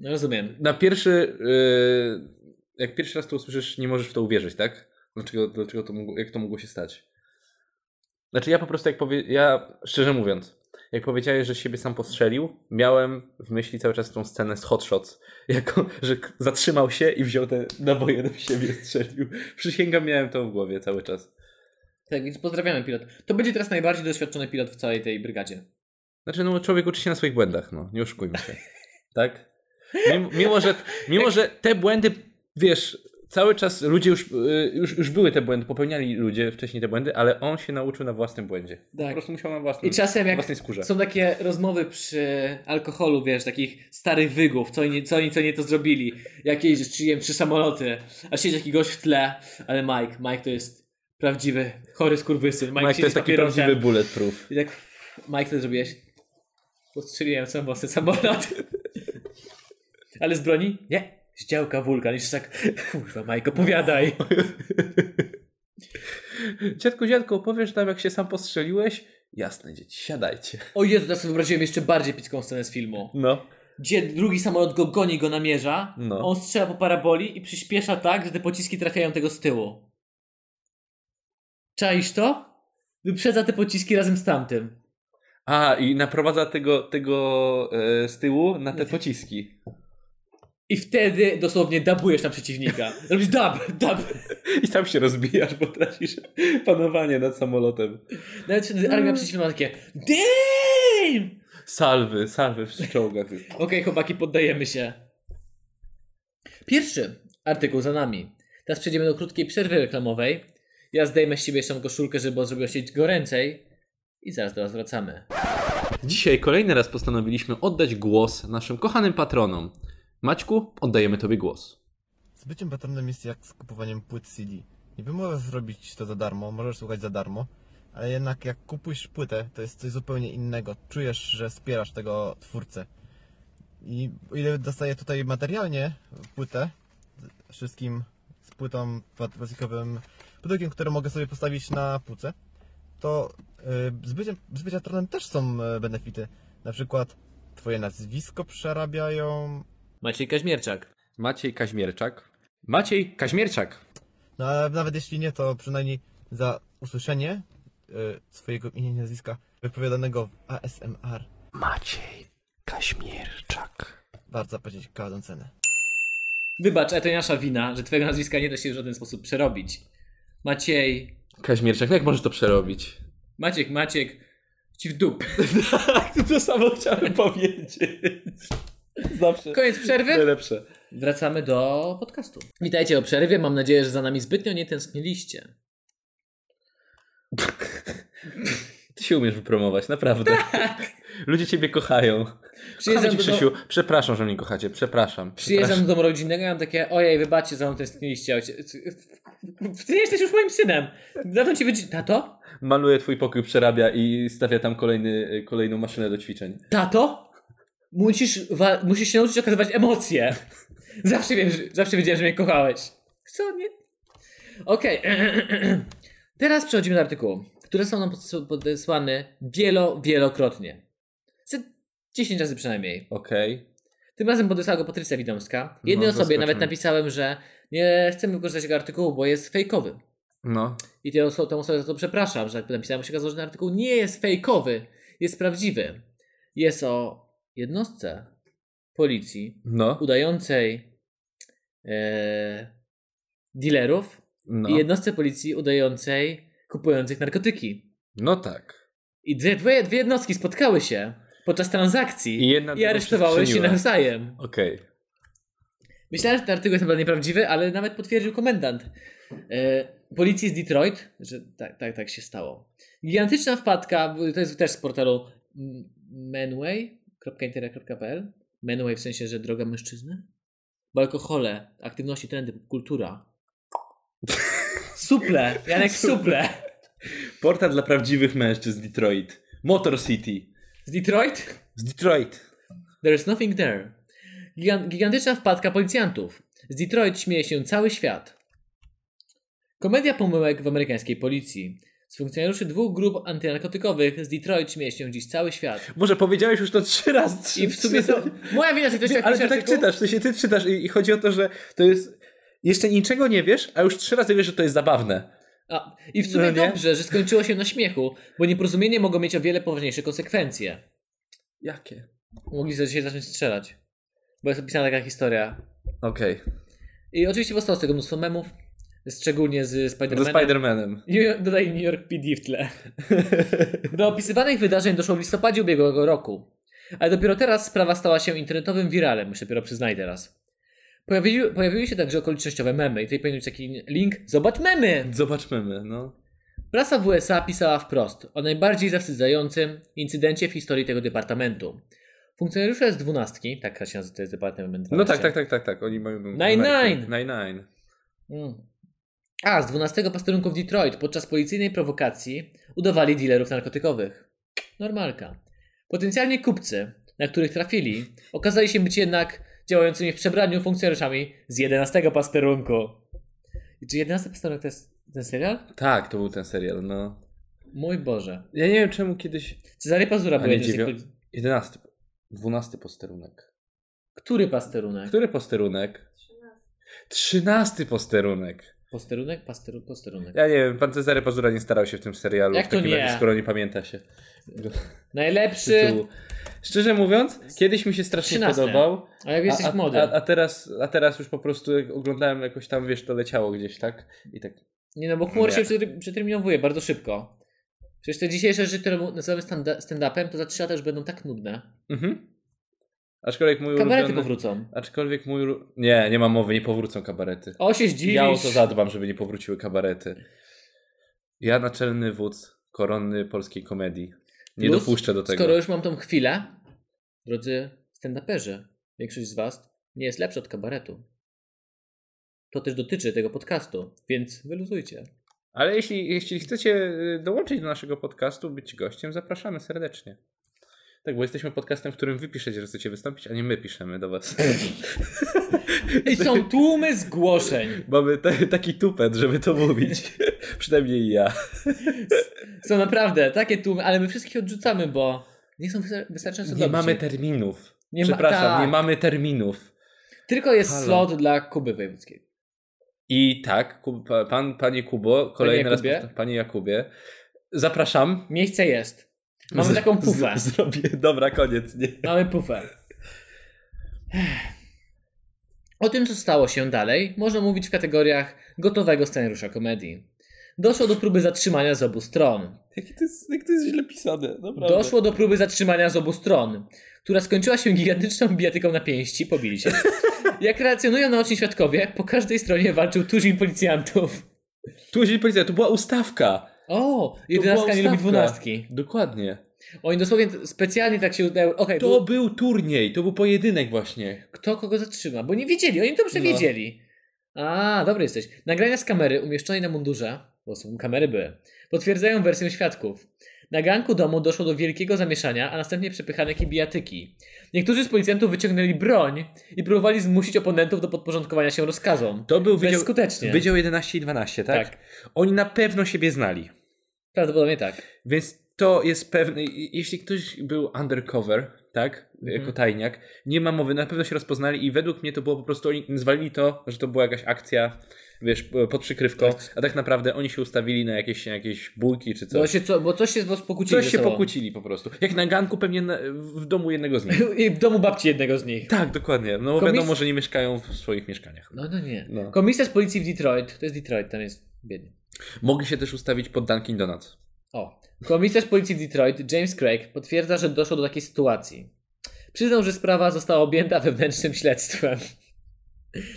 [SPEAKER 1] No rozumiem.
[SPEAKER 2] Na pierwszy... y, jak pierwszy raz to usłyszysz, nie możesz w to uwierzyć, tak? Dlaczego, dlaczego to mogło, jak to mogło się stać? Znaczy ja po prostu jak powie... Ja, szczerze mówiąc, jak powiedziałeś, że siebie sam postrzelił, miałem w myśli cały czas tą scenę z Hot Shots, jako, że k- zatrzymał się i wziął te naboje do siebie i strzelił. Przysięgam, miałem to w głowie cały czas.
[SPEAKER 1] Tak, więc pozdrawiamy pilot. To będzie teraz najbardziej doświadczony pilot w całej tej brygadzie.
[SPEAKER 2] Znaczy, no człowiek uczy się na swoich błędach, no. Nie oszukujmy się. tak? Mimo, mimo, że, mimo, że te błędy, wiesz, cały czas ludzie już, y, już, już były te błędy, popełniali ludzie wcześniej te błędy, ale on się nauczył na własnym błędzie. Po
[SPEAKER 1] Tak.
[SPEAKER 2] prostu musiał na własnym,
[SPEAKER 1] I czasem
[SPEAKER 2] na
[SPEAKER 1] jak
[SPEAKER 2] własnej skórze.
[SPEAKER 1] są takie rozmowy przy alkoholu, wiesz, takich starych wygów, co oni, co oni, co nie to zrobili, jak jeździsz, czy jem trzy samoloty, a siedzi jakiś gość w tle, ale Mike, Mike to jest prawdziwy, chory skurwysyn. Mike,
[SPEAKER 2] Mike to
[SPEAKER 1] siedzi
[SPEAKER 2] jest
[SPEAKER 1] z
[SPEAKER 2] taki
[SPEAKER 1] papierosem.
[SPEAKER 2] prawdziwy bulletproof.
[SPEAKER 1] I tak, Mike, co ty zrobiłeś? Postrzeliłem sam własny samolot. Ale z broni? Nie. Z działka wulkan. I jeszcze tak, kurwa, Mike, opowiadaj.
[SPEAKER 2] Dziadku, dziadku, opowiesz nam, jak się sam postrzeliłeś? Jasne, dzieci, siadajcie.
[SPEAKER 1] O Jezu, teraz sobie wyobraziłem jeszcze bardziej picką scenę z filmu.
[SPEAKER 2] No.
[SPEAKER 1] Gdzie drugi samolot go goni, go namierza.
[SPEAKER 2] No.
[SPEAKER 1] On strzela po paraboli i przyspiesza tak, że te pociski trafiają tego z tyłu. Czaisz to? Wyprzedza te pociski razem z tamtym.
[SPEAKER 2] A, i naprowadza tego, tego e, z tyłu na te pociski.
[SPEAKER 1] I wtedy dosłownie dabujesz na przeciwnika. Robisz dab, dab.
[SPEAKER 2] I sam się rozbijasz, bo tracisz panowanie nad samolotem.
[SPEAKER 1] Nawet wtedy armia przeciwna ma takie Damn!
[SPEAKER 2] Salwy, salwy w czołgach.
[SPEAKER 1] Okej, chłopaki, poddajemy się. Pierwszy artykuł za nami. Teraz przejdziemy do krótkiej przerwy reklamowej. Ja zdejmę z siebie jeszcze tą koszulkę, żeby zrobiło się goręcej. I zaraz do Was wracamy.
[SPEAKER 2] Dzisiaj kolejny raz postanowiliśmy oddać głos naszym kochanym patronom. Maćku, oddajemy tobie głos.
[SPEAKER 3] Z byciem patronem jest jak z kupowaniem płyt CD. Niby możesz zrobić to za darmo, możesz słuchać za darmo, ale jednak jak kupujesz płytę, to jest coś zupełnie innego. Czujesz, że wspierasz tego twórcę. I o ile dostaję tutaj materialnie płytę, z- wszystkim z płytą, pla- plastikowym pudełkiem, które mogę sobie postawić na półce, to y, z byciem, z bycia patronem też są y, benefity. Na przykład twoje nazwisko przerabiają,
[SPEAKER 1] Maciej Kaźmierczak.
[SPEAKER 2] Maciej Kaźmierczak. Maciej Kaźmierczak.
[SPEAKER 3] No ale nawet jeśli nie, to przynajmniej za usłyszenie y, swojego imienia i nazwiska wypowiadanego w ASMR
[SPEAKER 2] Maciej Kaźmierczak.
[SPEAKER 3] warto zapłacić każdą cenę.
[SPEAKER 1] Wybacz, ale to nie nasza wina, że Twojego nazwiska nie da się w żaden sposób przerobić. Maciej,
[SPEAKER 2] Kaźmierczak, no jak możesz to przerobić?
[SPEAKER 1] Maciek, Maciek, ci w dup.
[SPEAKER 2] to samo chciałem powiedzieć. Zawsze.
[SPEAKER 1] Koniec przerwy?
[SPEAKER 2] Najlepsze.
[SPEAKER 1] Wracamy do podcastu. Witajcie o przerwie. Mam nadzieję, że za nami zbytnio nie tęskniliście.
[SPEAKER 2] Ty się umiesz wypromować, naprawdę. Ludzie ciebie kochają. Kocham
[SPEAKER 1] Tak. Przyjeżdżam
[SPEAKER 2] cię,
[SPEAKER 1] do,
[SPEAKER 2] Krzysiu. Przepraszam, że mnie kochacie. Przepraszam.
[SPEAKER 1] Przyjeżdżam do domu rodzinnego i mam takie, ojej, wybaczcie, za mną tęskniliście. ojciec. Ty nie jesteś już moim synem. Dawno ci wyci... Tato?
[SPEAKER 2] Przepraszam. Maluje twój pokój, przerabia i stawia tam kolejny, kolejną maszynę do ćwiczeń.
[SPEAKER 1] Tato? Musisz, wa- musisz się nauczyć okazywać emocje. Zawsze, wiem, że, zawsze wiedziałem, że mnie kochałeś. Co? Nie? Okej. Teraz przechodzimy do artykułów, które są nam podsu- podesłane wielo, wielokrotnie. Ze 10 razy przynajmniej.
[SPEAKER 2] Okej.
[SPEAKER 1] Tym razem podesłała go Patrycja Widomska. Jednej
[SPEAKER 2] No,
[SPEAKER 1] osobie
[SPEAKER 2] zaskoczony.
[SPEAKER 1] nawet napisałem, że nie chcemy wykorzystać jego artykułu, bo jest fejkowy.
[SPEAKER 2] No.
[SPEAKER 1] I tę oso- tę osobę za to przepraszam, że jak napisałem, się okazało, że ten artykuł nie jest fejkowy, jest prawdziwy. Jest o jednostce policji
[SPEAKER 2] No.
[SPEAKER 1] udającej e, dealerów
[SPEAKER 2] No.
[SPEAKER 1] i jednostce policji udającej kupujących narkotyki.
[SPEAKER 2] no tak.
[SPEAKER 1] I dwie, dwie, dwie jednostki spotkały się podczas transakcji
[SPEAKER 2] I jedna
[SPEAKER 1] i
[SPEAKER 2] drugą
[SPEAKER 1] aresztowały się
[SPEAKER 2] przestrzeniła.
[SPEAKER 1] nawzajem.
[SPEAKER 2] Okej.
[SPEAKER 1] Myślałem, że ten artykuł jest naprawdę nieprawdziwy, ale nawet potwierdził komendant e, policji z Detroit, że tak, tak, tak się stało. Gigantyczna wpadka, to jest też z portalu m- manway.intera.pl Manway w sensie, że droga mężczyzny. Bo alkohole, aktywności, trendy, kultura. Suple, Janek Suple.
[SPEAKER 2] Portal dla prawdziwych mężczyzn z Detroit. Motor City.
[SPEAKER 1] Z Detroit?
[SPEAKER 2] Z Detroit.
[SPEAKER 1] There's nothing there. Gigan- gigantyczna wpadka policjantów. Z Detroit śmieje się cały świat. Komedia pomyłek w amerykańskiej policji. Z funkcjonariuszy dwóch grup antynarkotykowych z Detroit śmieje się dziś cały świat.
[SPEAKER 2] Może powiedziałeś już to trzy razy. Trzy,
[SPEAKER 1] I w sumie
[SPEAKER 2] trzy-
[SPEAKER 1] to... Moja wina, że ktoś tak
[SPEAKER 2] Ale
[SPEAKER 1] pisze
[SPEAKER 2] ty tak
[SPEAKER 1] artykuł.
[SPEAKER 2] czytasz, w sensie ty czytasz i, i chodzi o to, że to jest... Jeszcze niczego nie wiesz, a już trzy razy wiesz, że to jest zabawne.
[SPEAKER 1] A, I w sumie
[SPEAKER 2] No nie?
[SPEAKER 1] dobrze, że skończyło się na śmiechu, bo nieporozumienie mogą mieć o wiele poważniejsze konsekwencje.
[SPEAKER 2] Jakie?
[SPEAKER 1] Mogli sobie dzisiaj zacząć strzelać. Bo jest opisana taka historia.
[SPEAKER 2] Okej.
[SPEAKER 1] I oczywiście powstało z tego mnóstwo memów. Szczególnie z
[SPEAKER 2] Ze
[SPEAKER 1] Spider-Manem.
[SPEAKER 2] Spider-Manem.
[SPEAKER 1] New York, dodaj New York PD w tle. Do opisywanych wydarzeń doszło w listopadzie ubiegłego roku. Ale dopiero teraz sprawa stała się internetowym wiralem, już dopiero przyznaj teraz. Pojawiły, pojawiły się także okolicznościowe memy i tutaj powinien być taki link. Zobacz memy!
[SPEAKER 2] Zobaczmy my, no.
[SPEAKER 1] Prasa w USA pisała wprost o najbardziej zawstydzającym incydencie w historii tego departamentu. Funkcjonariusze z dwunastki, tak się nazywa, to jest departament
[SPEAKER 2] No
[SPEAKER 1] 12.
[SPEAKER 2] tak, tak, tak, tak, tak. Oni mają.
[SPEAKER 1] Nine-Nine!
[SPEAKER 2] Nine-Nine.
[SPEAKER 1] Mm. A, z 12 posterunku w Detroit podczas policyjnej prowokacji udawali dealerów narkotykowych. Normalka. Potencjalnie kupcy, na których trafili, okazali się być jednak działającymi w przebraniu funkcjonariuszami z 11 posterunku. I Czy 11 posterunek to jest ten serial?
[SPEAKER 2] Tak, to był ten serial, no.
[SPEAKER 1] Mój Boże.
[SPEAKER 2] Ja nie wiem czemu kiedyś.
[SPEAKER 1] Cezary Pazura
[SPEAKER 2] A
[SPEAKER 1] był
[SPEAKER 2] nie
[SPEAKER 1] jednym z tych
[SPEAKER 2] dziewią-
[SPEAKER 1] poli-
[SPEAKER 2] 11. 12 posterunek.
[SPEAKER 1] Który pasterunek?
[SPEAKER 2] Który posterunek? 13 posterunek.
[SPEAKER 1] Posterunek? Pasteru... Posterunek.
[SPEAKER 2] Ja nie wiem, pan Cezary Pazura nie starał się w tym serialu,
[SPEAKER 1] Jak
[SPEAKER 2] w
[SPEAKER 1] to
[SPEAKER 2] takim
[SPEAKER 1] nie?
[SPEAKER 2] razie, skoro nie pamięta się.
[SPEAKER 1] Najlepszy.
[SPEAKER 2] tytułu. Szczerze mówiąc, kiedyś mi się strasznie
[SPEAKER 1] 13.
[SPEAKER 2] podobał.
[SPEAKER 1] A jak jesteś
[SPEAKER 2] a,
[SPEAKER 1] młody?
[SPEAKER 2] A, a, teraz, a teraz już po prostu jak oglądałem jakoś tam, wiesz, to leciało gdzieś, tak? I tak.
[SPEAKER 1] Nie no, bo humor
[SPEAKER 2] Nie.
[SPEAKER 1] się przetry- przeterminowuje bardzo szybko. Przecież te dzisiejsze rzeczy, które nazywamy standa- stand-upem, to za trzy lata już będą tak nudne.
[SPEAKER 2] Mhm. Aczkolwiek mój
[SPEAKER 1] Kabarety
[SPEAKER 2] ulubiony...
[SPEAKER 1] powrócą.
[SPEAKER 2] Aczkolwiek mój... ulu- Nie, nie ma mowy, nie powrócą kabarety.
[SPEAKER 1] O, się zdziwisz.
[SPEAKER 2] Ja o to zadbam, żeby nie powróciły kabarety. Ja naczelny wódz koronny polskiej komedii. Nie
[SPEAKER 1] Plus,
[SPEAKER 2] dopuszczę do tego.
[SPEAKER 1] Skoro już mam tą chwilę, drodzy stand-uperzy, większość z was nie jest lepsza od kabaretu. To też dotyczy tego podcastu, więc wyluzujcie.
[SPEAKER 2] Ale jeśli, jeśli chcecie y, dołączyć do naszego podcastu, być gościem, zapraszamy serdecznie. Tak, bo jesteśmy podcastem, w którym wy piszecie, że chcecie wystąpić, a nie my piszemy do was.
[SPEAKER 1] I są tłumy zgłoszeń.
[SPEAKER 2] Mamy t- taki tupet, żeby to mówić. Przynajmniej ja.
[SPEAKER 1] No Są naprawdę takie tłumy, ale my wszystkich odrzucamy, bo nie są wysta- wystarczająco
[SPEAKER 2] Nie
[SPEAKER 1] dobrzy.
[SPEAKER 2] mamy terminów.
[SPEAKER 1] Nie ma-
[SPEAKER 2] Przepraszam,
[SPEAKER 1] tak.
[SPEAKER 2] nie mamy terminów.
[SPEAKER 1] Tylko jest
[SPEAKER 2] Halo.
[SPEAKER 1] slot dla Kuby Wojewódzkiej.
[SPEAKER 2] I tak, Ku- pa- pan, panie Kubo, kolejny raz,
[SPEAKER 1] Jakubie.
[SPEAKER 2] powtór- panie Jakubie, zapraszam.
[SPEAKER 1] Miejsce jest. Mamy taką pufę.
[SPEAKER 2] Z- zrobię, dobra, koniec. Nie.
[SPEAKER 1] Mamy pufę. Ech. O tym, co stało się dalej, można mówić w kategoriach gotowego scenariusza komedii. Doszło do próby zatrzymania z obu stron.
[SPEAKER 2] Jakie to jest, jak to jest źle pisane, naprawdę.
[SPEAKER 1] Doszło do próby zatrzymania z obu stron, która skończyła się gigantyczną bijatyką na pięści, pobili się. Jak relacjonują naoczni świadkowie, po każdej stronie walczył tuzin policjantów.
[SPEAKER 2] Tu się policja, to była ustawka.
[SPEAKER 1] O, jedenastka nie lubi
[SPEAKER 2] ustawka.
[SPEAKER 1] dwunastki.
[SPEAKER 2] Dokładnie.
[SPEAKER 1] Oni dosłownie specjalnie tak się udało. Okej,
[SPEAKER 2] To był turniej, to był pojedynek właśnie.
[SPEAKER 1] kto kogo zatrzyma, bo nie wiedzieli, oni dobrze
[SPEAKER 2] No.
[SPEAKER 1] wiedzieli. A, dobry jesteś. Nagrania z kamery umieszczonej na mundurze, bo są kamery były, potwierdzają wersję świadków. Na ganku domu doszło do wielkiego zamieszania, a następnie przepychanek i bijatyki. Niektórzy z policjantów wyciągnęli broń i próbowali zmusić oponentów do podporządkowania się rozkazom.
[SPEAKER 2] To był wydział,
[SPEAKER 1] Bezskutecznie.
[SPEAKER 2] wydział 11 i 12, tak?
[SPEAKER 1] Tak.
[SPEAKER 2] Oni na pewno siebie znali.
[SPEAKER 1] Prawdopodobnie tak.
[SPEAKER 2] Więc to jest pewne. i- Jeśli ktoś był undercover, tak?
[SPEAKER 1] Mhm.
[SPEAKER 2] Jako tajniak, nie ma mowy, na pewno się rozpoznali i według mnie to było po prostu oni zwalili to, że to była jakaś akcja, wiesz, p- pod przykrywką, a tak naprawdę oni się ustawili na jakieś, na jakieś bójki czy
[SPEAKER 1] Bo,
[SPEAKER 2] coś.
[SPEAKER 1] No, się co, bo coś się pokłóciło.
[SPEAKER 2] Coś się pokłócili po prostu. Jak na ganku pewnie na, w domu jednego z nich.
[SPEAKER 1] I w domu babci jednego z nich.
[SPEAKER 2] Tak, dokładnie. No bo
[SPEAKER 1] Komis-
[SPEAKER 2] wiadomo, że nie mieszkają w swoich mieszkaniach.
[SPEAKER 1] No, no nie.
[SPEAKER 2] No.
[SPEAKER 1] Komisarz policji w Detroit, to jest Detroit, tam jest biedny.
[SPEAKER 2] Mogli się też ustawić pod Dunkin Donuts.
[SPEAKER 1] O. Komisarz policji w Detroit, James Craig, potwierdza, że doszło do takiej sytuacji. Przyznał, że sprawa została objęta wewnętrznym śledztwem.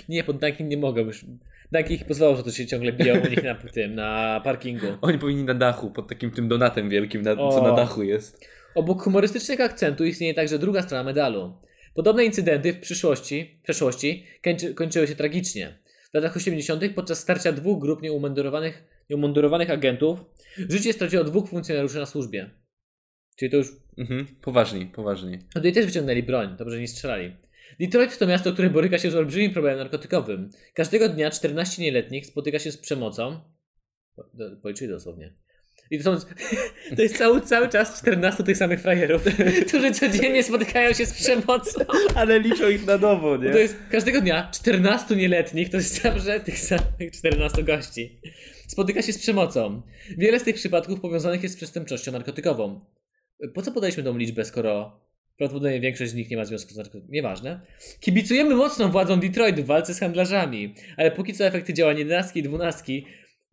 [SPEAKER 1] Nie, pod Dunkin nie mogą już. Dunkin ich pozwalało, że to się ciągle biją u nich na, tym, na parkingu.
[SPEAKER 2] Oni powinni na dachu, pod takim tym donatem wielkim, na, co
[SPEAKER 1] O.
[SPEAKER 2] na dachu jest.
[SPEAKER 1] Obok humorystycznego akcentu istnieje także druga strona medalu. Podobne incydenty w przyszłości, w przeszłości kończy, kończyły się tragicznie. W latach 80. podczas starcia dwóch grup nieumundurowanych, nieumundurowanych agentów życie straciło dwóch funkcjonariuszy na służbie. Czyli to już
[SPEAKER 2] Mhm. Poważni, poważni.
[SPEAKER 1] No tutaj też wyciągnęli broń, dobrze, że nie strzelali. Detroit to miasto, które boryka się z olbrzymim problemem narkotykowym. Każdego dnia 14 nieletnich spotyka się z przemocą. Po- do- Policzyli dosłownie. I to, są, to jest cały, cały czas 14 tych samych frajerów, którzy codziennie spotykają się z przemocą.
[SPEAKER 2] Ale liczą ich na nowo,
[SPEAKER 1] To jest każdego dnia 14 nieletnich, to jest zawsze tych samych 14 gości. Spotyka się z przemocą. Wiele z tych przypadków powiązanych jest z przestępczością narkotykową. Po co podaliśmy tą liczbę, skoro Prawdopodobnie większość z nich nie ma związku z narkotykami. Nieważne. Kibicujemy mocno władzom Detroitu w walce z handlarzami, ale póki co efekty działań 11 i 12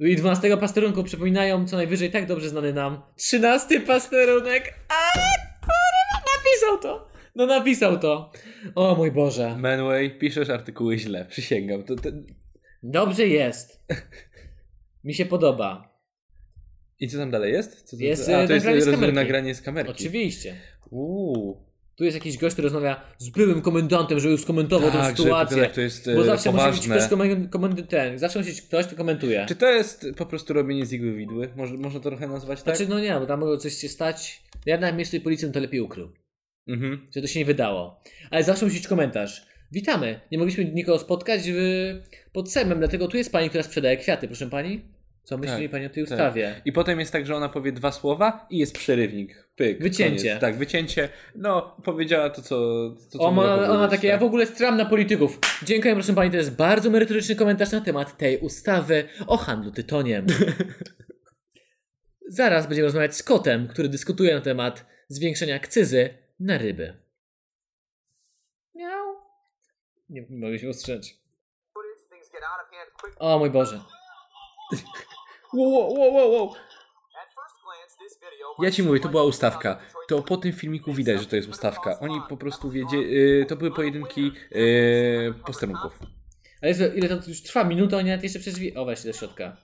[SPEAKER 1] i 12 pasterunku przypominają co najwyżej tak dobrze znany nam 13 pasterunek. A kurwa, napisał to! No napisał to. O mój Boże.
[SPEAKER 2] Manway, piszesz artykuły źle, przysięgam. To, to...
[SPEAKER 1] Dobrze jest. Mi się podoba.
[SPEAKER 2] I co tam dalej jest? Co, to-
[SPEAKER 1] Jest,
[SPEAKER 2] a,
[SPEAKER 1] e,
[SPEAKER 2] to jest
[SPEAKER 1] nagranie z
[SPEAKER 2] rozumiem,
[SPEAKER 1] kamerki.
[SPEAKER 2] nagranie z kamerki.
[SPEAKER 1] Oczywiście.
[SPEAKER 2] Uuu.
[SPEAKER 1] Tu jest jakiś gość, który rozmawia z byłym komendantem, żeby skomentował
[SPEAKER 2] Tak,
[SPEAKER 1] tę
[SPEAKER 2] że
[SPEAKER 1] sytuację.
[SPEAKER 2] to, jak to jest e,
[SPEAKER 1] Bo zawsze musi być
[SPEAKER 2] poważne.
[SPEAKER 1] ktoś komen- komendy ten. Zawsze musi być ktoś, kto komentuje.
[SPEAKER 2] Czy to jest po prostu robienie z igły widły? Może, można to trochę nazwać tak?
[SPEAKER 1] Znaczy, no nie, bo tam mogło coś się stać. Ja na miejscu tej policji bym to lepiej ukrył.
[SPEAKER 2] Mhm.
[SPEAKER 1] Że to się nie wydało. Ale zawsze musi być komentarz. Witamy. Nie mogliśmy nikogo spotkać w, pod semem, dlatego tu jest pani, która sprzedaje kwiaty, proszę pani. Co myśli
[SPEAKER 2] Tak,
[SPEAKER 1] pani o tej
[SPEAKER 2] tak.
[SPEAKER 1] ustawie?
[SPEAKER 2] I potem jest tak, że ona powie dwa słowa i jest przerywnik. Pyk.
[SPEAKER 1] Wycięcie.
[SPEAKER 2] Koniec. Tak, wycięcie. No, powiedziała to, co. To, co
[SPEAKER 1] Ona,
[SPEAKER 2] miała
[SPEAKER 1] ona
[SPEAKER 2] powiedzieć,
[SPEAKER 1] takie, ja
[SPEAKER 2] tak.
[SPEAKER 1] w ogóle stram na polityków. Dziękuję, proszę pani, to jest bardzo merytoryczny komentarz na temat tej ustawy o handlu tytoniem. Zaraz będziemy rozmawiać z kotem, który dyskutuje na temat zwiększenia akcyzy na ryby. Miau. Nie, nie mogę się ustrzec. O mój Boże.
[SPEAKER 2] Wow, wow, wow, wow. Ja ci mówię, to była ustawka. To po tym filmiku widać, że to jest ustawka. Oni po prostu wiedzie... y, To były pojedynki y, posterunków.
[SPEAKER 1] Ale Jezu, ile to już trwa? Minuta, oni nawet jeszcze przez drzwi... O, weź do środka.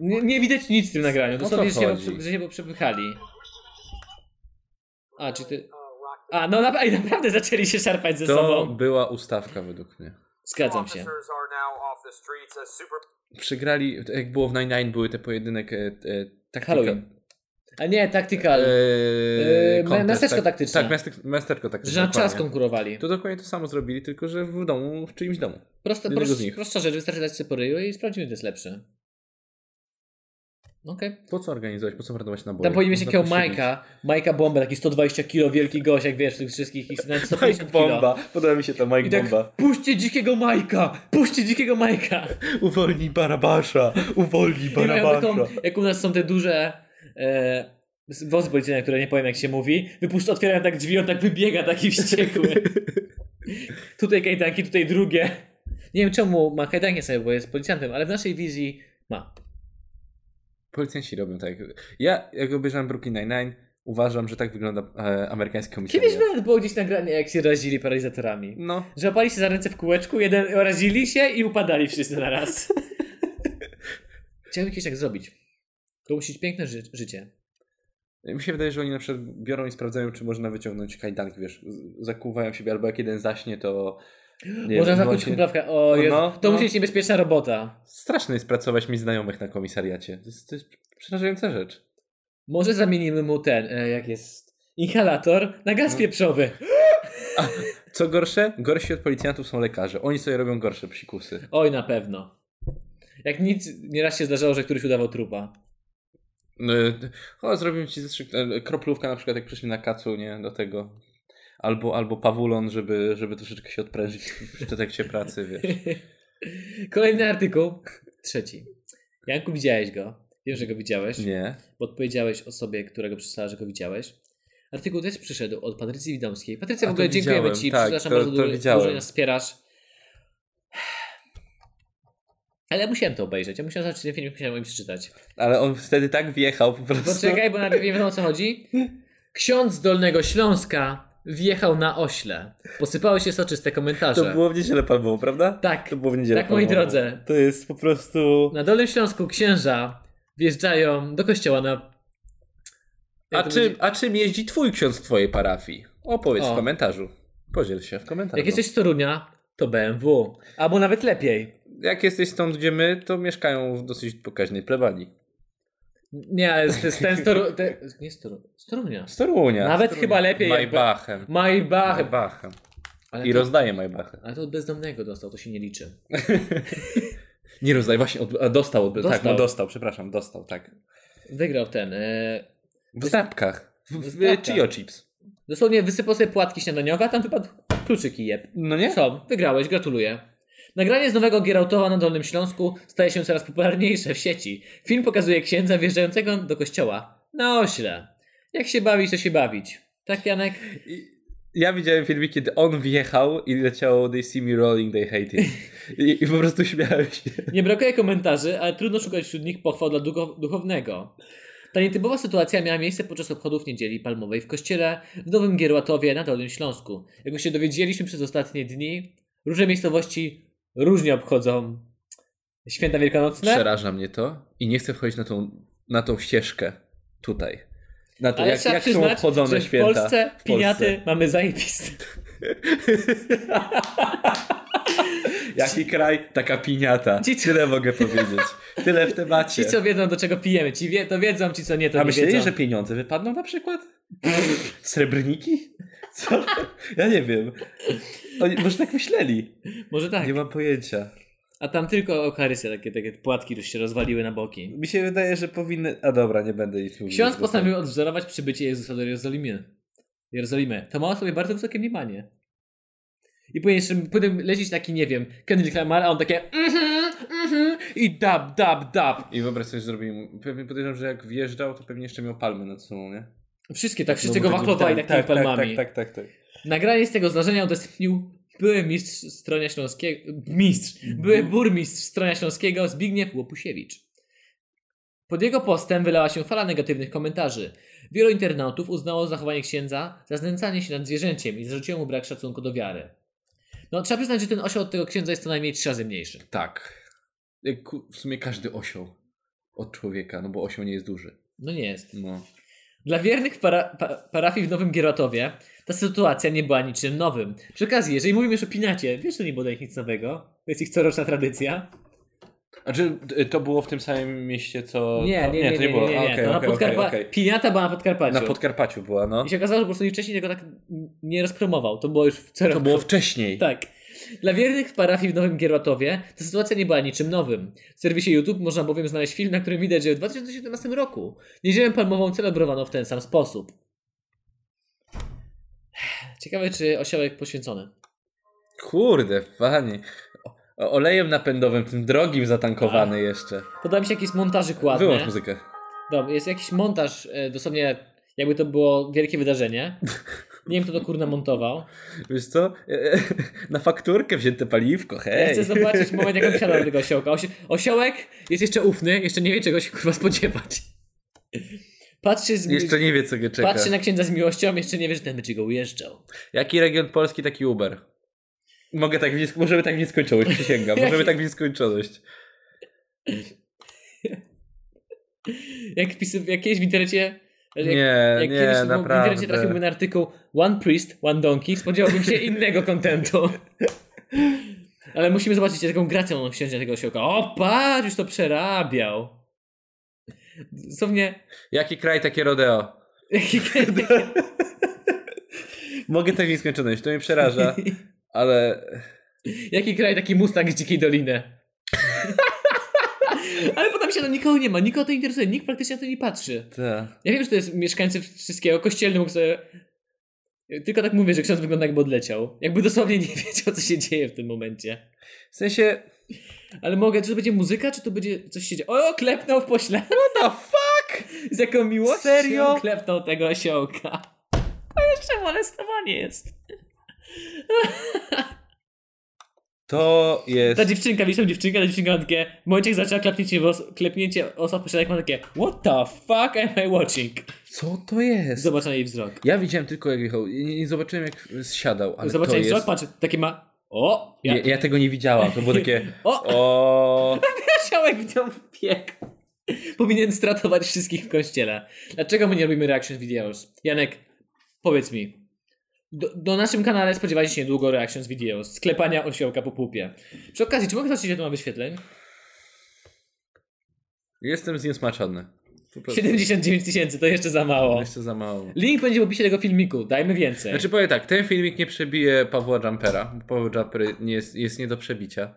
[SPEAKER 1] Nie, nie widać nic w tym nagraniu,
[SPEAKER 2] co
[SPEAKER 1] dosłownie, że się,
[SPEAKER 2] chodzi?
[SPEAKER 1] poprze- że się poprzepychali. A, czy ty... A, no na... Ej, naprawdę zaczęli się szarpać ze
[SPEAKER 2] To
[SPEAKER 1] sobą.
[SPEAKER 2] była ustawka według mnie.
[SPEAKER 1] Zgadzam się.
[SPEAKER 2] Przegrali, tak jak było w Nine Nine, były te pojedynek... e, e, taktyka-
[SPEAKER 1] Halloween. A nie, tactical.
[SPEAKER 2] Eee,
[SPEAKER 1] Eee,
[SPEAKER 2] contest,
[SPEAKER 1] miasteczko
[SPEAKER 2] tak,
[SPEAKER 1] taktyczne.
[SPEAKER 2] Tak, miasteczko, miasteczko taktyczne.
[SPEAKER 1] Że na czas
[SPEAKER 2] dokładnie.
[SPEAKER 1] konkurowali.
[SPEAKER 2] To dokładnie to samo zrobili, tylko że w domu, w czyimś domu.
[SPEAKER 1] Prosta,
[SPEAKER 2] jednego
[SPEAKER 1] prost,
[SPEAKER 2] z nich.
[SPEAKER 1] prosta rzecz, wystarczy dać sobie po ryju i sprawdzimy, kto jest lepszy. Okej.
[SPEAKER 2] Po co organizować, po co mordować naboje? No,
[SPEAKER 1] Tam powinien mieć
[SPEAKER 2] Można
[SPEAKER 1] takiego
[SPEAKER 2] to się
[SPEAKER 1] Majka, Majka Bomba, taki 120 kg wielki gość, jak wiesz, tych wszystkich i nawet
[SPEAKER 2] bić. Mike
[SPEAKER 1] 150 kg.
[SPEAKER 2] Bomba, podoba mi się to Mike
[SPEAKER 1] I tak,
[SPEAKER 2] Bomba.
[SPEAKER 1] puśćcie dzikiego Majka, puśćcie dzikiego Majka.
[SPEAKER 2] Uwolnij Barabasza, uwolnij
[SPEAKER 1] I mają
[SPEAKER 2] Barabasza.
[SPEAKER 1] taką, jak u nas są te duże e, wozy policyjne, które nie powiem jak się mówi, wypuszcza, otwierają tak drzwi, on tak wybiega taki wściekły. tutaj kajdanki, tutaj drugie. Nie wiem czemu ma kajdanki sobie, bo jest policjantem, ale w naszej wizji ma.
[SPEAKER 2] Policjanci robią tak. Ja, jak obejrzałem Brooklyn Nine-Nine, uważam, że tak wygląda e, amerykańskie komisariat.
[SPEAKER 1] Kiedyś nawet było gdzieś nagranie, jak się razili paralizatorami.
[SPEAKER 2] No,
[SPEAKER 1] Złapali się za ręce w kółeczku, jeden razili się i upadali wszyscy na raz. Chciałbym kiedyś tak zrobić. To musi być piękne ży- życie.
[SPEAKER 2] No mi się wydaje, że oni na przykład biorą i sprawdzają, czy można wyciągnąć kajdanki, wiesz, z- zakuwają siebie, albo jak jeden zaśnie, to... nie
[SPEAKER 1] Można
[SPEAKER 2] wiem,
[SPEAKER 1] zakuć
[SPEAKER 2] właśnie-
[SPEAKER 1] kuprawkę. O, Jezu.
[SPEAKER 2] No,
[SPEAKER 1] to
[SPEAKER 2] no.
[SPEAKER 1] musi być niebezpieczna robota.
[SPEAKER 2] Straszne jest pracować mi znajomych na komisariacie. To jest, to jest przerażająca rzecz.
[SPEAKER 1] Może zamienimy mu ten, e, jak jest, inhalator na gaz
[SPEAKER 2] No.
[SPEAKER 1] pieprzowy.
[SPEAKER 2] Co gorsze? Gorsi od policjantów są lekarze. Oni sobie robią gorsze psikusy.
[SPEAKER 1] Oj, na pewno. Jak nic, nieraz się zdarzało, że któryś udawał trupa.
[SPEAKER 2] E, O, zrobimy ci zastrzyk... e, kroplówka na przykład, jak przyszli na kacu, nie? Do tego. Albo, albo pawulon, żeby, żeby troszeczkę się odprężyć w detekcie pracy, wiesz.
[SPEAKER 1] Kolejny artykuł, trzeci. Janku, widziałeś go. Wiem, że go widziałeś.
[SPEAKER 2] Nie.
[SPEAKER 1] bo odpowiedziałeś osobie, którego przysłała, że go widziałeś. Artykuł też przyszedł od Patrycji Widomskiej. Patrycja,
[SPEAKER 2] A,
[SPEAKER 1] w
[SPEAKER 2] to
[SPEAKER 1] ogóle dziękujemy
[SPEAKER 2] widziałem,
[SPEAKER 1] Ci,
[SPEAKER 2] tak,
[SPEAKER 1] przepraszam
[SPEAKER 2] to-
[SPEAKER 1] bardzo
[SPEAKER 2] to
[SPEAKER 1] dużo,
[SPEAKER 2] widziałem.
[SPEAKER 1] dużo że nas wspierasz. Ale ja musiałem to obejrzeć, ja musiałem zobaczyć ten film, musiałem o nim przeczytać.
[SPEAKER 2] Ale on wtedy tak wjechał po prostu.
[SPEAKER 1] Poczekaj, bo najpierw nie wiadomo o co chodzi. Ksiądz z Dolnego Śląska wjechał na ośle. Posypały się soczyste komentarze.
[SPEAKER 2] To było w niedzielę palmową, prawda?
[SPEAKER 1] Tak,
[SPEAKER 2] To było w niedzielę
[SPEAKER 1] Tak, moi
[SPEAKER 2] palmową.
[SPEAKER 1] drodzy. No,
[SPEAKER 2] To jest po prostu...
[SPEAKER 1] na Dolnym Śląsku księża wjeżdżają do kościoła na...
[SPEAKER 2] A
[SPEAKER 1] Jak to
[SPEAKER 2] czym,
[SPEAKER 1] będzie?
[SPEAKER 2] a czym jeździ twój ksiądz w twojej parafii? Opowiedz
[SPEAKER 1] O.
[SPEAKER 2] w komentarzu. Podziel się w no. komentarzu.
[SPEAKER 1] Jak jesteś z Torunia, to BMW. Albo nawet lepiej.
[SPEAKER 2] Jak jesteś stąd, gdzie my, to mieszkają w dosyć pokaźnej plebanii.
[SPEAKER 1] Nie, ale to jest ten z Toru... Te... Nie z Toru... Z Torunia.
[SPEAKER 2] Z Torunia.
[SPEAKER 1] Nawet
[SPEAKER 2] z Torunia.
[SPEAKER 1] chyba lepiej jakby-
[SPEAKER 2] Maybachem.
[SPEAKER 1] Maybach.
[SPEAKER 2] Maybachem.
[SPEAKER 1] Ale
[SPEAKER 2] I
[SPEAKER 1] to,
[SPEAKER 2] rozdaje Maybachem.
[SPEAKER 1] ale to od bezdomnego dostał, to się nie liczy.
[SPEAKER 2] Nie rozdaje, właśnie od, a dostał, od, Tak,
[SPEAKER 1] Dostał.
[SPEAKER 2] no dostał, przepraszam, dostał, tak.
[SPEAKER 1] Wygrał ten. E...
[SPEAKER 2] W zapkach. W, w,
[SPEAKER 1] W zapkach.
[SPEAKER 2] Chio Chips.
[SPEAKER 1] Dosłownie wysypał sobie płatki śniadaniowe, a tam wypadł kluczyki jeb.
[SPEAKER 2] No nie?
[SPEAKER 1] Co? Wygrałeś, gratuluję. Nagranie z nowego Gierautowa na Dolnym Śląsku staje się coraz popularniejsze w sieci. Film pokazuje księdza wjeżdżającego do kościoła na ośle. Jak się bawić, to się bawić. Tak, Janek?
[SPEAKER 2] I- Ja widziałem filmik, kiedy on wjechał i leciało They see me rolling, they hate it. I, i po prostu śmiałem się.
[SPEAKER 1] Nie brakuje komentarzy, ale trudno szukać wśród nich pochwał dla ducho- duchownego. Ta nietypowa sytuacja miała miejsce podczas obchodów Niedzieli Palmowej w kościele w Nowym Gierłatowie na Dolnym Śląsku. Jak już się dowiedzieliśmy przez ostatnie dni, różne miejscowości różnie obchodzą święta wielkanocne.
[SPEAKER 2] Przeraża mnie to i nie chcę wchodzić na tą, na tą ścieżkę tutaj. Na to,
[SPEAKER 1] Ale
[SPEAKER 2] jak,
[SPEAKER 1] trzeba
[SPEAKER 2] jak są
[SPEAKER 1] przyznać,
[SPEAKER 2] obchodzone
[SPEAKER 1] że
[SPEAKER 2] święta.
[SPEAKER 1] w Polsce
[SPEAKER 2] w Polsce.
[SPEAKER 1] piniaty mamy zajebiste.
[SPEAKER 2] Jaki kraj, taka piniata.
[SPEAKER 1] Ci, co-
[SPEAKER 2] Tyle mogę powiedzieć. Tyle w temacie.
[SPEAKER 1] Ci, co wiedzą, do czego pijemy, ci wie, to wiedzą, ci, co nie, to
[SPEAKER 2] A
[SPEAKER 1] nie wiedzą.
[SPEAKER 2] myśleli, że pieniądze wypadną na przykład? Srebrniki? Co? Ja nie wiem. Oni może tak myśleli.
[SPEAKER 1] Może tak.
[SPEAKER 2] Nie mam pojęcia.
[SPEAKER 1] A tam tylko okarysy, takie, takie płatki już się rozwaliły na boki.
[SPEAKER 2] Mi się wydaje, że powinny... A dobra, nie będę ich tak- mówił.
[SPEAKER 1] Ksiądz postanowił odwzorować przybycie Jezusa do Jerozolimy. Jerozolimy. To ma o sobie bardzo wysokie mniemanie. I powinien jeszcze potem lecieć taki, nie wiem, Kendrick Lamar, a on takie mhm, mhm i dab, dab, dab.
[SPEAKER 2] I wyobraź sobie, zrobili mu... Pewnie podejrzewam, że jak wjeżdżał, to pewnie jeszcze miał palmy nad sobą, nie?
[SPEAKER 1] Wszystkie tak, wszyscy
[SPEAKER 2] No
[SPEAKER 1] go
[SPEAKER 2] bo tego-
[SPEAKER 1] wachlowali
[SPEAKER 2] tak,
[SPEAKER 1] takimi
[SPEAKER 2] tak,
[SPEAKER 1] palmami.
[SPEAKER 2] Tak, tak, tak, tak.
[SPEAKER 1] Nagranie z tego zdarzenia udostępnił były mistrz Stronia Śląskiego, mistrz, były burmistrz Stronia Śląskiego Zbigniew Łopusiewicz. Pod jego postem wylała się fala negatywnych komentarzy. Wielu internautów uznało zachowanie księdza za znęcanie się nad zwierzęciem i zarzuciło mu brak szacunku do wiary. No, trzeba przyznać, że ten osioł od tego księdza jest co najmniej trzy razy mniejszy.
[SPEAKER 2] Tak. Jak ku- W sumie każdy osioł od człowieka, no bo osioł nie jest duży.
[SPEAKER 1] No nie jest.
[SPEAKER 2] No.
[SPEAKER 1] Dla wiernych para, pa, parafii w Nowym Gieratowie ta sytuacja nie była niczym nowym. Przy okazji, jeżeli mówimy już o pinacie, wiesz, to nie było dla nich nic nowego. To jest ich coroczna tradycja.
[SPEAKER 2] A czy y, to było w tym samym mieście, co...
[SPEAKER 1] Nie,
[SPEAKER 2] to-
[SPEAKER 1] nie, nie, nie,
[SPEAKER 2] to
[SPEAKER 1] nie, nie,
[SPEAKER 2] było.
[SPEAKER 1] nie,
[SPEAKER 2] A,
[SPEAKER 1] nie.
[SPEAKER 2] okej,
[SPEAKER 1] to na
[SPEAKER 2] okej,
[SPEAKER 1] Podkarpa...
[SPEAKER 2] okej, okej.
[SPEAKER 1] Piniata była na Podkarpaciu.
[SPEAKER 2] Na Podkarpaciu była, no.
[SPEAKER 1] I się okazało, że po prostu nikt wcześniej tego tak nie rozpromował. To było już w co
[SPEAKER 2] To
[SPEAKER 1] roku.
[SPEAKER 2] było wcześniej.
[SPEAKER 1] Tak. Dla wiernych w parafii w Nowym Gierłatowie ta sytuacja nie była niczym nowym. W serwisie YouTube można bowiem znaleźć film, na którym widać, że w 2017 roku niedzielę palmową celebrowano w ten sam sposób. Ciekawe, czy osiołek poświęcony.
[SPEAKER 2] Kurde, panie. O, olejem napędowym, tym drogim zatankowany jeszcze.
[SPEAKER 1] Podoba mi się jakiś montażyk ładny.
[SPEAKER 2] Wyłącz muzykę.
[SPEAKER 1] Dobra, jest jakiś montaż, e, dosłownie jakby to było wielkie wydarzenie. Nie wiem, kto to kurna montował.
[SPEAKER 2] Wiesz co? E, Na fakturkę wzięte paliwko, hej.
[SPEAKER 1] Ja chcę zobaczyć moment, jak on wsiada do tego osiołka. Osi- osiołek jest jeszcze ufny, jeszcze nie wie, czego się kurwa spodziewać. Patrzy, z...
[SPEAKER 2] Jeszcze nie wie, co go czeka.
[SPEAKER 1] patrzy na księdza z miłością, jeszcze nie wie, że ten będzie go ujeżdżał.
[SPEAKER 2] Jaki region Polski, taki Uber? Mogę tak w niesko- Możemy tak w nieskończoność, przysięgam. Możemy tak w nieskończoność.
[SPEAKER 1] Jak pisy... jak kiedyś w internecie... Jak,
[SPEAKER 2] Nie,
[SPEAKER 1] jak
[SPEAKER 2] nie,
[SPEAKER 1] kiedyś w internecie trafiłbym
[SPEAKER 2] naprawdę.
[SPEAKER 1] na artykuł One Priest, One Donkey, spodziewałbym się innego kontentu. Ale musimy zobaczyć, jaką grację on wsiądzie na tego osiołka. O, patrz, już to przerabiał. Dosłownie...
[SPEAKER 2] Jaki kraj, takie rodeo? Mogę tak w nieskończoność, to mnie przeraża, ale...
[SPEAKER 1] Jaki kraj taki Mustang z dzikiej doliny? Ale potem się tam nikogo nie ma, nikogo to interesuje, nikt praktycznie na to nie patrzy.
[SPEAKER 2] Ta.
[SPEAKER 1] Ja wiem, że to jest mieszkańcy wszystkiego, kościelny mógł sobie... Tylko tak mówię, że ksiądz wygląda jakby odleciał. Jakby dosłownie nie wiedział, co się dzieje w tym momencie.
[SPEAKER 2] W sensie...
[SPEAKER 1] Ale mogę, czy to będzie muzyka, czy to będzie coś się dzieje? O, klepnął w pośle.
[SPEAKER 2] What the fuck?
[SPEAKER 1] Z jaką miłością
[SPEAKER 2] Serio?
[SPEAKER 1] klepnął tego osiołka. A jeszcze molestowanie jest.
[SPEAKER 2] To jest...
[SPEAKER 1] Ta dziewczynka, widzisz tą dziewczynkę, ta dziewczynka ma takie, w momencie jak zaczęła klepnięcie, w os- klepnięcie osob posiadek ma takie What the fuck am I watching?
[SPEAKER 2] Co to jest?
[SPEAKER 1] Zobacz na jej wzrok.
[SPEAKER 2] Ja widziałem tylko jak jechał. Nie, nie zobaczyłem jak zsiadał, ale
[SPEAKER 1] Zobacz
[SPEAKER 2] to
[SPEAKER 1] na jej
[SPEAKER 2] jest...
[SPEAKER 1] wzrok, patrz, takie ma O! Ja,
[SPEAKER 2] Ja, ja tego nie widziałam, to było takie...
[SPEAKER 1] O!
[SPEAKER 2] O,
[SPEAKER 1] Osiołek w nią wbiegł. Powinien stratować wszystkich w kościele. Dlaczego my nie robimy reaction videos? Janek, powiedz mi. Do, do naszym kanale spodziewajcie się niedługo reactions videos, sklepania osiołka po pupie. Przy okazji, czy mogę zobaczyć, ile to ma wyświetleń?
[SPEAKER 2] Jestem zniesmaczony. Po prostu.
[SPEAKER 1] 79 tysięcy, to jeszcze za mało.
[SPEAKER 2] Jeszcze za mało.
[SPEAKER 1] Link będzie w opisie tego filmiku, dajmy więcej.
[SPEAKER 2] Znaczy powiem tak, ten filmik nie przebije Pawła Jumpera. bo Paweł Jumper nie jest, jest nie do przebicia.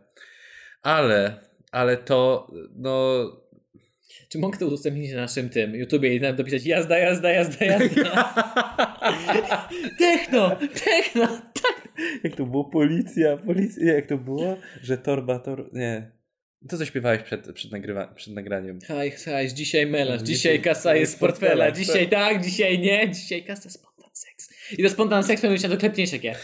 [SPEAKER 2] Ale, ale to, no...
[SPEAKER 1] Czy mogę to udostępnić na naszym tym YouTubie i tam dopisać jazda, jazda, jazda, jazda. techno, techno.
[SPEAKER 2] Jak to było? Policja, policja, jak to było? Że torba, tor... Nie. To co śpiewałeś przed, przed, nagrywa, przed nagraniem?
[SPEAKER 1] Haj, haj, dzisiaj melanż,
[SPEAKER 2] No, Dzisiaj-
[SPEAKER 1] dzisiaj kasa
[SPEAKER 2] to
[SPEAKER 1] jest
[SPEAKER 2] jest
[SPEAKER 1] z portfela,
[SPEAKER 2] portfela,
[SPEAKER 1] dzisiaj tak, dzisiaj nie, dzisiaj kasa spontan seks. I do spontan seks powinien się do klepnięcia takie.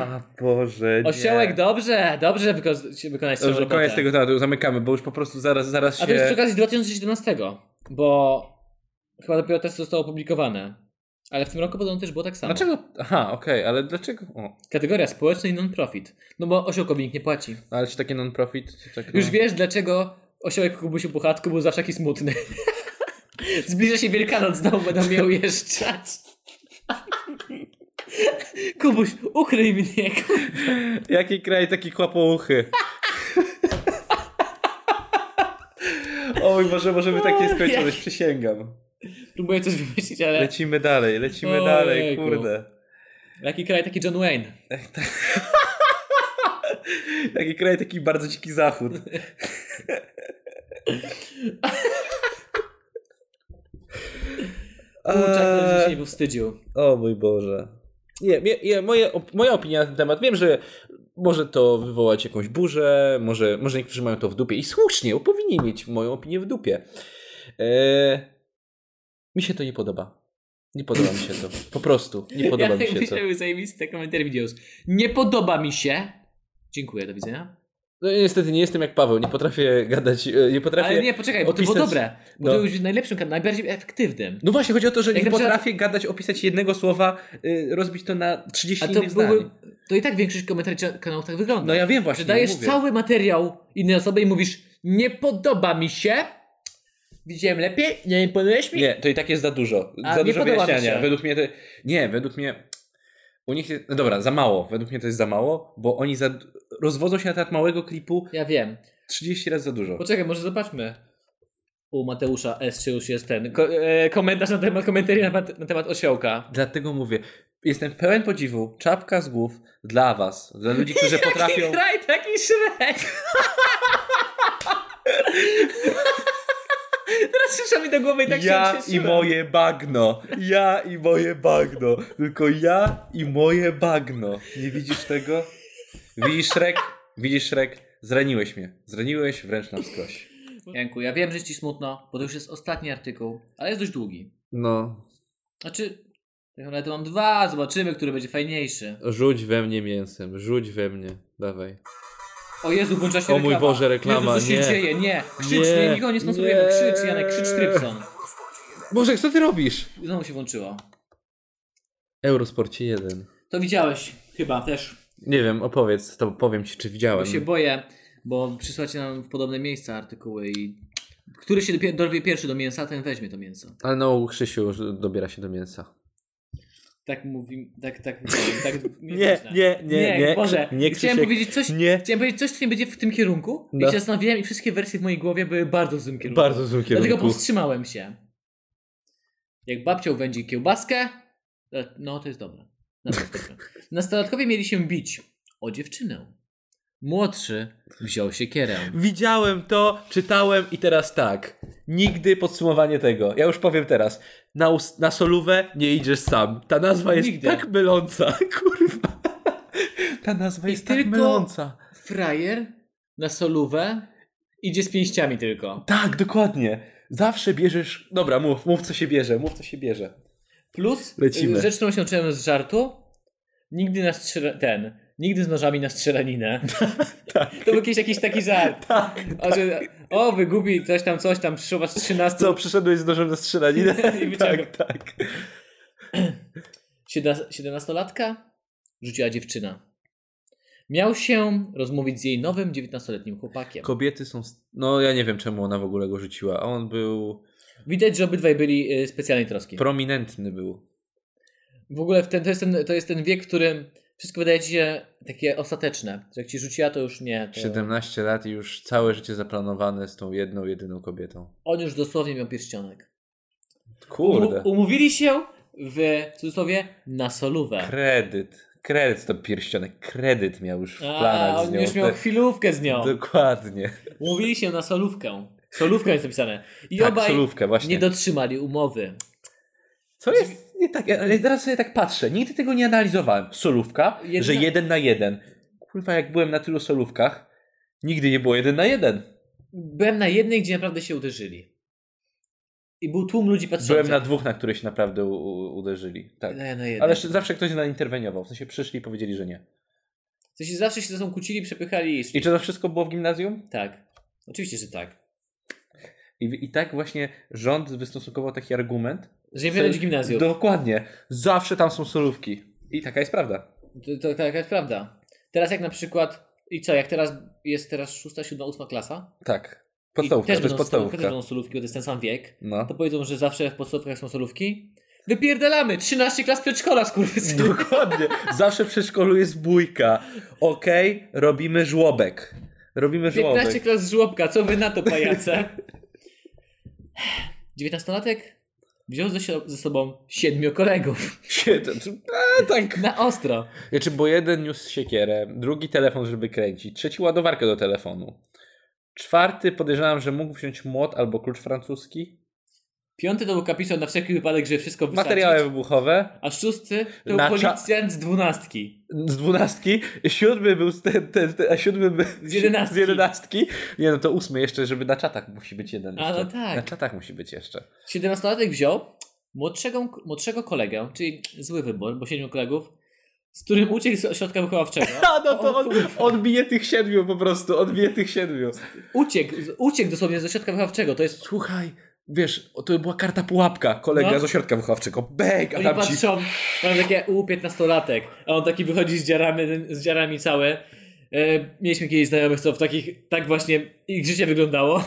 [SPEAKER 2] A Boże, nie.
[SPEAKER 1] Mm. Osiołek, dobrze, dobrze wyko- wykonać swoją
[SPEAKER 2] Dobrze,
[SPEAKER 1] robotę.
[SPEAKER 2] koniec tego tematu, zamykamy, bo już po prostu zaraz, zaraz
[SPEAKER 1] A to jest przy
[SPEAKER 2] się...
[SPEAKER 1] okazji z 2017, bo chyba dopiero teraz to zostało opublikowane. Ale w tym roku podobno też było tak samo.
[SPEAKER 2] Dlaczego? Aha, okej, ale dlaczego? O,
[SPEAKER 1] Kategoria społeczny i non-profit. No bo osiołkowi nikt nie płaci.
[SPEAKER 2] ale czy takie non-profit? czy Tak,
[SPEAKER 1] Już
[SPEAKER 2] no.
[SPEAKER 1] wiesz dlaczego osiołek Kubusiu Puchatku był zawsze taki smutny. Zbliża się Wielkanoc, znowu będą mnie ujeżdżać. Kubuś, ukryj mnie.
[SPEAKER 2] Jaki kraj taki kłapouchy? Oj, może możemy takie skończyć, przysięgam.
[SPEAKER 1] Próbuję coś wymyślić, ale
[SPEAKER 2] Lecimy dalej, lecimy
[SPEAKER 1] Ojejku.
[SPEAKER 2] dalej, kurde.
[SPEAKER 1] jaki kraj taki John Wayne?
[SPEAKER 2] Eee. Jaki kraj taki bardzo dziki zachód.
[SPEAKER 1] Kurczak, eee... się
[SPEAKER 2] Eee,
[SPEAKER 1] nie powstydził.
[SPEAKER 2] o mój Boże. Nie, nie, nie moje, op- moja opinia na ten temat. Wiem, że może to wywołać jakąś burzę, może, może niektórzy mają to w dupie i słusznie, bo powinni mieć moją opinię w dupie. Eee, mi się to nie podoba. Nie podoba mi się to. Po prostu. Nie podoba
[SPEAKER 1] ja
[SPEAKER 2] mi się to.
[SPEAKER 1] myślę, że zajebiste komentarze videos. Nie podoba mi się. Dziękuję, do widzenia.
[SPEAKER 2] No i niestety nie jestem jak Paweł, nie potrafię gadać, e, nie potrafię...
[SPEAKER 1] Ale nie, poczekaj, bo to było
[SPEAKER 2] opisać-
[SPEAKER 1] dobre. Bo
[SPEAKER 2] no.
[SPEAKER 1] to już najlepszym, kan- najbardziej efektywnym.
[SPEAKER 2] No właśnie, chodzi o to, że
[SPEAKER 1] Jak
[SPEAKER 2] nie
[SPEAKER 1] na przykład-
[SPEAKER 2] potrafię gadać, opisać jednego słowa, y, rozbić to na 30
[SPEAKER 1] A to,
[SPEAKER 2] innych zdań.
[SPEAKER 1] byłby, to i tak większość komentarzy na kanałów tak wygląda.
[SPEAKER 2] No ja wiem właśnie,
[SPEAKER 1] że dajesz
[SPEAKER 2] mówię.
[SPEAKER 1] cały materiał innej osoby i mówisz, nie podoba mi się, widziałem lepiej, nie imponujesz mi.
[SPEAKER 2] Nie, to i tak jest za dużo.
[SPEAKER 1] A,
[SPEAKER 2] za
[SPEAKER 1] nie
[SPEAKER 2] dużo
[SPEAKER 1] podoba mi
[SPEAKER 2] wyjaśniania.
[SPEAKER 1] się.
[SPEAKER 2] Według mnie to... Nie, według mnie... U nich jest... No dobra, za mało. Według mnie to jest za mało, bo oni za... rozwodzą się na temat małego klipu
[SPEAKER 1] Ja wiem.
[SPEAKER 2] 30 razy za dużo.
[SPEAKER 1] Poczekaj, może zobaczmy. U Mateusza S. czy już jest ten ko- e- komentarz na temat komentarzy na, temat- na temat osiołka.
[SPEAKER 2] Dlatego mówię, jestem pełen podziwu, czapka z głów dla was, dla ludzi, którzy potrafią...
[SPEAKER 1] Kraj taki Shrek! Teraz przyszła mi do głowy i tak się
[SPEAKER 2] Ja i
[SPEAKER 1] ucieszyłem.
[SPEAKER 2] moje bagno. Ja i moje bagno. Tylko ja i moje bagno. Nie widzisz tego? Widzisz Shrek? Widzisz Shrek? Zraniłeś mnie. Zraniłeś wręcz na wskroś.
[SPEAKER 1] Janku, ja wiem, że jest ci smutno, bo to już jest ostatni artykuł, ale jest dość długi.
[SPEAKER 2] No,
[SPEAKER 1] Znaczy, tak naprawdę mam dwa, zobaczymy, który będzie fajniejszy.
[SPEAKER 2] rzuć we mnie mięsem. Rzuć we mnie. Dawaj.
[SPEAKER 1] O Jezu, włącza się
[SPEAKER 2] O mój
[SPEAKER 1] reklama.
[SPEAKER 2] Boże, reklama,
[SPEAKER 1] Jezu, co się
[SPEAKER 2] nie.
[SPEAKER 1] dzieje, nie. Krzycz, nie,
[SPEAKER 2] Nie,
[SPEAKER 1] nikogo nie sponsorujemy.
[SPEAKER 2] nie.
[SPEAKER 1] Krzycz, Janek, krzycz Trypson.
[SPEAKER 2] Boże, co ty robisz?
[SPEAKER 1] Znowu się włączyło.
[SPEAKER 2] Eurosporcie 1.
[SPEAKER 1] To widziałeś chyba też,
[SPEAKER 2] Nie wiem, opowiedz, to powiem ci, czy
[SPEAKER 1] bo
[SPEAKER 2] widziałem.
[SPEAKER 1] się boję, bo przysłacie nam w podobne miejsca artykuły i który się dopie- dorwie pierwszy do mięsa, ten weźmie to mięso.
[SPEAKER 2] Ale no, Krzysiu już dobiera się do mięsa.
[SPEAKER 1] Tak mówi, tak, tak, tak, tak
[SPEAKER 2] nie,
[SPEAKER 1] Boże,
[SPEAKER 2] nie,
[SPEAKER 1] chciałem
[SPEAKER 2] Krzysiek.
[SPEAKER 1] powiedzieć coś,
[SPEAKER 2] Nie.
[SPEAKER 1] Chciałem powiedzieć coś, co nie będzie w tym kierunku.
[SPEAKER 2] No.
[SPEAKER 1] I się zastanawiałem i wszystkie wersje w mojej głowie były bardzo w złym kierunku.
[SPEAKER 2] Bardzo złym
[SPEAKER 1] Dlatego
[SPEAKER 2] kierunku.
[SPEAKER 1] powstrzymałem się. Jak babcią wędzi kiełbaskę. e, No, to jest dobre. Na to jest dobre. Nastolatkowie mieli się bić o dziewczynę. Młodszy wziął siekierę.
[SPEAKER 2] Widziałem to, czytałem i teraz tak. Nigdy podsumowanie tego. Ja już powiem teraz. Na, us- na solówę nie idziesz sam. Ta nazwa jest
[SPEAKER 1] Nigdy.
[SPEAKER 2] tak myląca, kurwa. Ta nazwa
[SPEAKER 1] I
[SPEAKER 2] jest tak
[SPEAKER 1] tylko-
[SPEAKER 2] myląca.
[SPEAKER 1] Frajer na solówę idzie z pięściami tylko.
[SPEAKER 2] Tak, dokładnie. Zawsze bierzesz... Dobra, mów, mów co się bierze, mów co się bierze.
[SPEAKER 1] Plus
[SPEAKER 2] Lecimy.
[SPEAKER 1] y, rzecz, którą się uczyłem z żartu. Nigdy na strzela... ten. Nigdy z nożami na strzelaninę.
[SPEAKER 2] tak.
[SPEAKER 1] To był jakiś, jakiś taki żart.
[SPEAKER 2] Tak.
[SPEAKER 1] O, że, o wygubi coś tam, coś tam, przyszło was 13.
[SPEAKER 2] Co, przyszedłeś z nożem na strzelaninę?
[SPEAKER 1] I wyciągnął.
[SPEAKER 2] tak, tak.
[SPEAKER 1] Siedna- Siedemnastolatka rzuciła dziewczyna. Miał się rozmówić z jej nowym, dziewiętnastoletnim chłopakiem.
[SPEAKER 2] Kobiety są... s- No ja nie wiem czemu ona w ogóle go rzuciła. A on był...
[SPEAKER 1] Widać, że obydwaj byli y, specjalnej troski.
[SPEAKER 2] Prominentny był.
[SPEAKER 1] W ogóle w ten, to, jest ten, to jest ten wiek, w którym wszystko wydaje ci się takie ostateczne. Że jak ci rzuciła, to już nie. To...
[SPEAKER 2] 17 lat i już całe życie zaplanowane z tą jedną, jedyną kobietą.
[SPEAKER 1] On już dosłownie miał pierścionek.
[SPEAKER 2] Kurde.
[SPEAKER 1] Um- umówili się w w cudzysłowie na solówę.
[SPEAKER 2] Kredyt. Kredyt to pierścionek. Kredyt miał już w planach
[SPEAKER 1] A,
[SPEAKER 2] z
[SPEAKER 1] on
[SPEAKER 2] nią.
[SPEAKER 1] już miał
[SPEAKER 2] Te-
[SPEAKER 1] chwilówkę z nią.
[SPEAKER 2] Dokładnie.
[SPEAKER 1] Umówili się na solówkę. Solówka jest napisane. I
[SPEAKER 2] tak,
[SPEAKER 1] obaj
[SPEAKER 2] solówkę właśnie.
[SPEAKER 1] nie dotrzymali umowy.
[SPEAKER 2] Co jest nie tak? Ale teraz sobie tak patrzę. Nigdy tego nie analizowałem. Solówka,
[SPEAKER 1] Jedna-
[SPEAKER 2] że jeden na jeden. Kurwa, jak byłem na tylu solówkach, Nigdy nie było jeden na jeden.
[SPEAKER 1] Byłem na jednej, gdzie naprawdę się uderzyli. I był tłum ludzi patrzących.
[SPEAKER 2] Byłem na dwóch, na które się naprawdę u- u- uderzyli. Tak.
[SPEAKER 1] na, na jednej.
[SPEAKER 2] Ale jeszcze zawsze ktoś nainterweniował. W sensie przyszli i powiedzieli, że nie.
[SPEAKER 1] W sensie zawsze się ze sobą kłócili, przepychali i
[SPEAKER 2] I
[SPEAKER 1] szli.
[SPEAKER 2] czy to wszystko było w gimnazjum?
[SPEAKER 1] Tak. Oczywiście, że tak.
[SPEAKER 2] I, I tak właśnie rząd wystosunkował taki argument.
[SPEAKER 1] Że nie powinno być gimnazjum.
[SPEAKER 2] Dokładnie. Zawsze tam są solówki. I taka jest prawda.
[SPEAKER 1] To, to taka jest prawda. Teraz jak na przykład... I co, jak teraz jest teraz szósta, siódma, ósma klasa?
[SPEAKER 2] Tak.
[SPEAKER 1] I
[SPEAKER 2] Podstawówka,
[SPEAKER 1] też
[SPEAKER 2] to jest
[SPEAKER 1] będą
[SPEAKER 2] podstawówka.
[SPEAKER 1] Też będą solówki, bo to jest ten sam wiek.
[SPEAKER 2] No.
[SPEAKER 1] To powiedzą, że zawsze w podstawówkach są solówki. Wypierdalamy! 13 klas przedszkola, skurwysyn.
[SPEAKER 2] Dokładnie. Zawsze w przedszkolu jest bójka. Okej, robimy żłobek. Robimy
[SPEAKER 1] 15
[SPEAKER 2] żłobek.
[SPEAKER 1] klas z żłobka, co wy na to pajace? 19-latek wziął ze, sio- ze sobą siedmiu kolegów.
[SPEAKER 2] Siedem. A, tak.
[SPEAKER 1] Na ostro.
[SPEAKER 2] Znaczy, bo jeden niósł siekierę, drugi telefon, żeby kręcić, trzeci ładowarkę do telefonu. Czwarty podejrzewam, że mógł wziąć młot albo klucz francuski.
[SPEAKER 1] Piąty to był kapitan na wszelki wypadek, żeby wszystko wysadzić.
[SPEAKER 2] Materiały wybuchowe
[SPEAKER 1] A szósty to
[SPEAKER 2] Na
[SPEAKER 1] był
[SPEAKER 2] cza-
[SPEAKER 1] policjant z dwunastki.
[SPEAKER 2] z dwunastki. Siódmy był z ten, ten, ten, a siódmy był
[SPEAKER 1] Z jedenastki.
[SPEAKER 2] z jedenastki. Nie no, to ósmy jeszcze, żeby na czatach musi być jeden.
[SPEAKER 1] A,
[SPEAKER 2] jeszcze.
[SPEAKER 1] no tak.
[SPEAKER 2] Na czatach musi być jeszcze.
[SPEAKER 1] 17-latek wziął młodszego, młodszego kolegę, czyli zły wybór, bo siedmiu kolegów, z którym uciekł z ośrodka wychowawczego.
[SPEAKER 2] A no
[SPEAKER 1] O,
[SPEAKER 2] to on, on bije tych siedmiu po prostu, on bije tych siedmiu.
[SPEAKER 1] Uciekł, uciekł dosłownie z ośrodka wychowawczego. To jest
[SPEAKER 2] Słuchaj, wiesz, o, to była karta pułapka, kolega
[SPEAKER 1] No.
[SPEAKER 2] z ośrodka wychowawczego. Bek, a
[SPEAKER 1] Oni
[SPEAKER 2] tam ci...
[SPEAKER 1] patrzą, mają takie u 15-latek, a on taki wychodzi z dziarami, z dziarami całe. E, mieliśmy kiedyś znajomych, co w takich, tak właśnie ich życie wyglądało.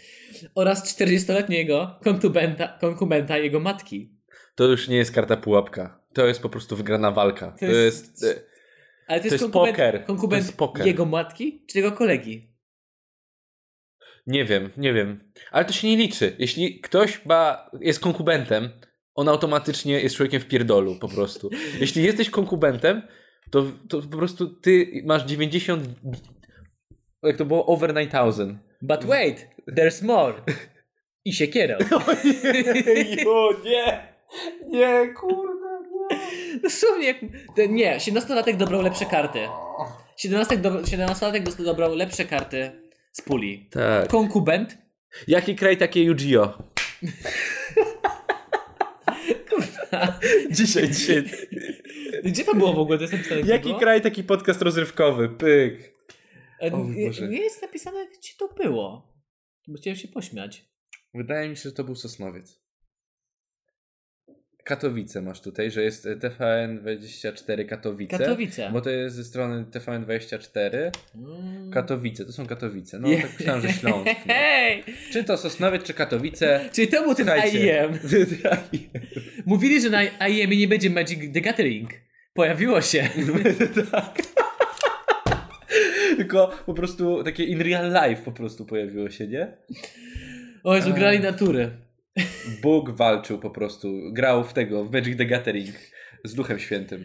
[SPEAKER 1] Oraz 40-letniego kontubenta, konkumenta jego matki.
[SPEAKER 2] To już nie jest karta pułapka. To jest po prostu wygrana walka. To,
[SPEAKER 1] jest-
[SPEAKER 2] jest. e,
[SPEAKER 1] Ale to, jest,
[SPEAKER 2] jest
[SPEAKER 1] konkument,
[SPEAKER 2] poker.
[SPEAKER 1] konkument
[SPEAKER 2] To jest poker.
[SPEAKER 1] jego matki czy tego kolegi?
[SPEAKER 2] Nie wiem, nie wiem. Ale to się nie liczy. Jeśli ktoś ma, jest konkubentem, on automatycznie jest człowiekiem w pierdolu po prostu. Jeśli jesteś konkubentem, to, to po prostu ty masz 90. Jak to było? Over 9000.
[SPEAKER 1] But wait, there's more. I siekierą.
[SPEAKER 2] O nie! Nie, kurde, nie.
[SPEAKER 1] Dosłownie jak... te- Nie, 17-latek dobrał lepsze karty. 17-latek do... 17 dobrał lepsze karty z puli.
[SPEAKER 2] Tak.
[SPEAKER 1] Konkubent
[SPEAKER 2] Jaki kraj takie Yu-Gi-Oh? dzisiaj, dzisiaj.
[SPEAKER 1] Gdzie to było w ogóle? To jest napisane. gdzie
[SPEAKER 2] Jaki
[SPEAKER 1] było?
[SPEAKER 2] kraj taki podcast rozrywkowy? Pyk.
[SPEAKER 1] E,
[SPEAKER 2] O mój
[SPEAKER 1] nie-
[SPEAKER 2] Boże.
[SPEAKER 1] Nie jest napisane, gdzie to było. Bo chciałem się pośmiać.
[SPEAKER 2] Wydaje mi się, że to był Sosnowiec. Katowice masz tutaj, że jest e, TVN24 Katowice.
[SPEAKER 1] Katowice.
[SPEAKER 2] Bo to jest ze strony TVN24.
[SPEAKER 1] Mm.
[SPEAKER 2] Katowice, to są Katowice. No
[SPEAKER 1] Je-
[SPEAKER 2] tak myślałem, że Śląsk. No.
[SPEAKER 1] Hej!
[SPEAKER 2] Czy to Sosnowiec, czy Katowice?
[SPEAKER 1] Czyli to był ten
[SPEAKER 2] Słuchajcie.
[SPEAKER 1] IEM. Mówili, że na IEM nie będzie Magic the Gathering. Pojawiło się.
[SPEAKER 2] tak. Tylko po prostu takie in real life po prostu pojawiło się, nie?
[SPEAKER 1] O Jezu,
[SPEAKER 2] Ehm.
[SPEAKER 1] grali natury.
[SPEAKER 2] Bóg walczył po prostu, grał w tego, w Magic the Gathering z Duchem Świętym.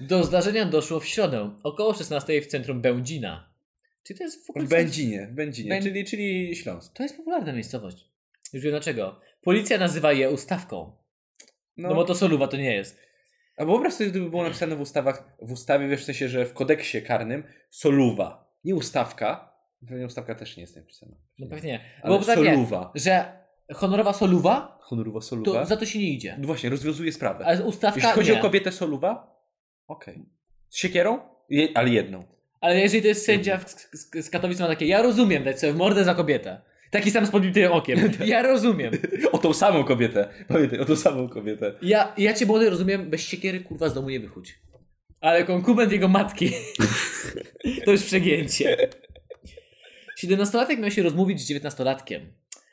[SPEAKER 1] Do zdarzenia doszło w środę, około 16 w centrum Będzina. Czy to jest w ogóle...
[SPEAKER 2] W Będzinie, w Będzinie,
[SPEAKER 1] Będ-
[SPEAKER 2] czyli, czyli Śląsk.
[SPEAKER 1] To jest popularna miejscowość. Już wiem dlaczego. Policja nazywa je ustawką. No,
[SPEAKER 2] No,
[SPEAKER 1] bo to Soluwa to nie jest.
[SPEAKER 2] A wyobraź sobie, gdyby było napisane w ustawach, w ustawie, wiesz, w sensie, że w kodeksie karnym soluwa, nie ustawka, pewnie ustawka też nie jest napisana,
[SPEAKER 1] No pewnie. nie.
[SPEAKER 2] ale
[SPEAKER 1] bo pewnie,
[SPEAKER 2] soluwa,
[SPEAKER 1] że honorowa Soluwa
[SPEAKER 2] honorowa
[SPEAKER 1] To
[SPEAKER 2] soluwa,
[SPEAKER 1] za to się nie idzie.
[SPEAKER 2] No właśnie, rozwiązuje sprawę.
[SPEAKER 1] Ale ustawka
[SPEAKER 2] Jeśli chodzi
[SPEAKER 1] nie.
[SPEAKER 2] o kobietę soluwa, okej. Z siekierą, Je, ale jedną.
[SPEAKER 1] Ale jeżeli to jest sędzia w- z, z, z Katowic ma takie, ja rozumiem dać sobie w mordę za kobietę. Taki sam z podbitym okiem. Ja rozumiem.
[SPEAKER 2] O tą samą kobietę, pamiętaj, o tą samą kobietę.
[SPEAKER 1] Ja, ja cię młody rozumiem, bez siekiery kurwa z domu nie wychódź. Ale konkubent jego matki. to już przegięcie. 17-latek miał się rozmówić z 19-latkiem.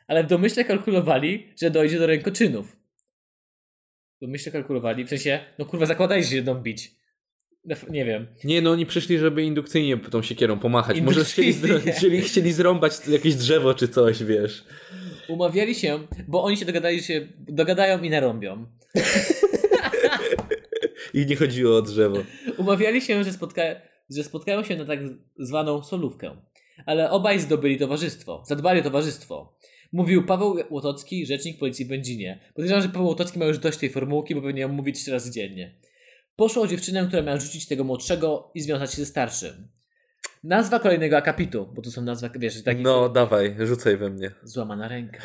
[SPEAKER 1] Ale w domyśle kalkulowali, że dojdzie do rękoczynów. W domyśle kalkulowali, w sensie, no kurwa zakładaj, że się będą bić. No, f- Nie wiem.
[SPEAKER 2] Nie, no oni przyszli, żeby indukcyjnie tą siekierą pomachać. Może chcieli,
[SPEAKER 1] Indukcyjnie.
[SPEAKER 2] zdro- chcieli, chcieli zrąbać jakieś drzewo czy coś, wiesz.
[SPEAKER 1] Umawiali się, bo oni się dogadali że się, dogadają i narąbią.
[SPEAKER 2] I nie chodziło o drzewo.
[SPEAKER 1] Umawiali się, że, spotka, że spotkają się na tak zwaną solówkę. Ale obaj zdobyli towarzystwo, zadbali o towarzystwo. Mówił Paweł Łotocki, rzecznik policji w Będzinie. Podejrzewam, że Paweł Łotocki ma już dość tej formułki, bo pewnie ją mówi trzy razy dziennie. Poszło o dziewczynę, która miała rzucić tego młodszego i związać się ze starszym. Nazwa kolejnego akapitu, bo tu są nazwa, wiesz, takich
[SPEAKER 2] No, dawaj, rzucaj we mnie.
[SPEAKER 1] złamana ręka.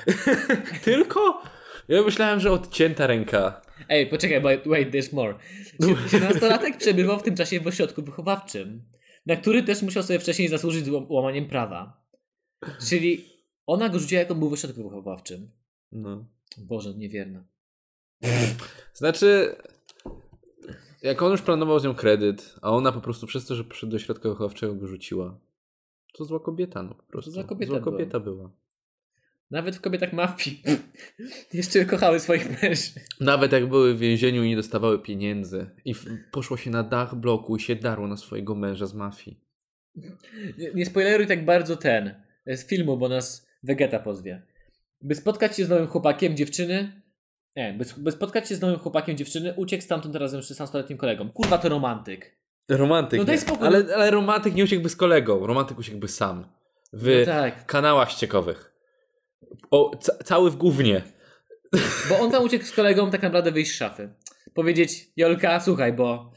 [SPEAKER 2] Tylko? Ja myślałem, że odcięta ręka.
[SPEAKER 1] Ej, poczekaj, wait, wait there's more. Sie- Siedemnastolatek przebywał w tym czasie w ośrodku wychowawczym, na który też musiał sobie wcześniej zasłużyć z łam- łamaniem prawa. Czyli ona go rzuciła, jak on był w ośrodku wychowawczym.
[SPEAKER 2] No.
[SPEAKER 1] Boże, niewierna.
[SPEAKER 2] Znaczy, jak on już planował z nią kredyt, a ona po prostu przez to, że przyszedł do środka wychowawczego go rzuciła. To zła kobieta, no po prostu.
[SPEAKER 1] zła kobieta
[SPEAKER 2] zła
[SPEAKER 1] była.
[SPEAKER 2] kobieta była.
[SPEAKER 1] Nawet w kobietach mafii jeszcze kochały swoich mężczyzn.
[SPEAKER 2] Nawet jak były w więzieniu i nie dostawały pieniędzy. I w, poszło się na dach bloku i się darło na swojego męża z mafii.
[SPEAKER 1] Nie, nie spoileruj tak bardzo ten e, z filmu, bo nas Vegeta pozwie. By spotkać się z nowym chłopakiem dziewczyny. Nie, by, by spotkać się z nowym chłopakiem dziewczyny, uciekł stamtąd razem z 16-letnim kolegą. Kurwa, to romantyk.
[SPEAKER 2] Romantyk.
[SPEAKER 1] No daj
[SPEAKER 2] nie.
[SPEAKER 1] spokój.
[SPEAKER 2] Ale, ale romantyk nie uciekłby z kolegą. Romantyk uciekłby sam. W
[SPEAKER 1] No tak,
[SPEAKER 2] kanałach ściekowych. O, ca- cały w gównie.
[SPEAKER 1] bo on tam uciekł z kolegą tak naprawdę wyjść z szafy. Powiedzieć, Jolka, słuchaj, bo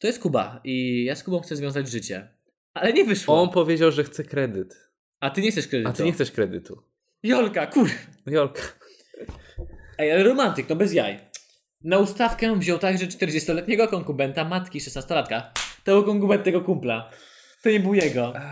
[SPEAKER 1] to jest Kuba i ja z Kubą chcę związać życie. Ale nie wyszło.
[SPEAKER 2] On powiedział, że chce kredyt.
[SPEAKER 1] A ty nie chcesz kredytu.
[SPEAKER 2] A ty nie chcesz kredytu.
[SPEAKER 1] Jolka, kur...
[SPEAKER 2] No Jolka.
[SPEAKER 1] Ej, ale romantyk, no bez jaj. Na ustawkę wziął także 40-letniego konkubenta matki 16-latka. To był konkubent tego kumpla. To nie był jego.
[SPEAKER 2] Eee,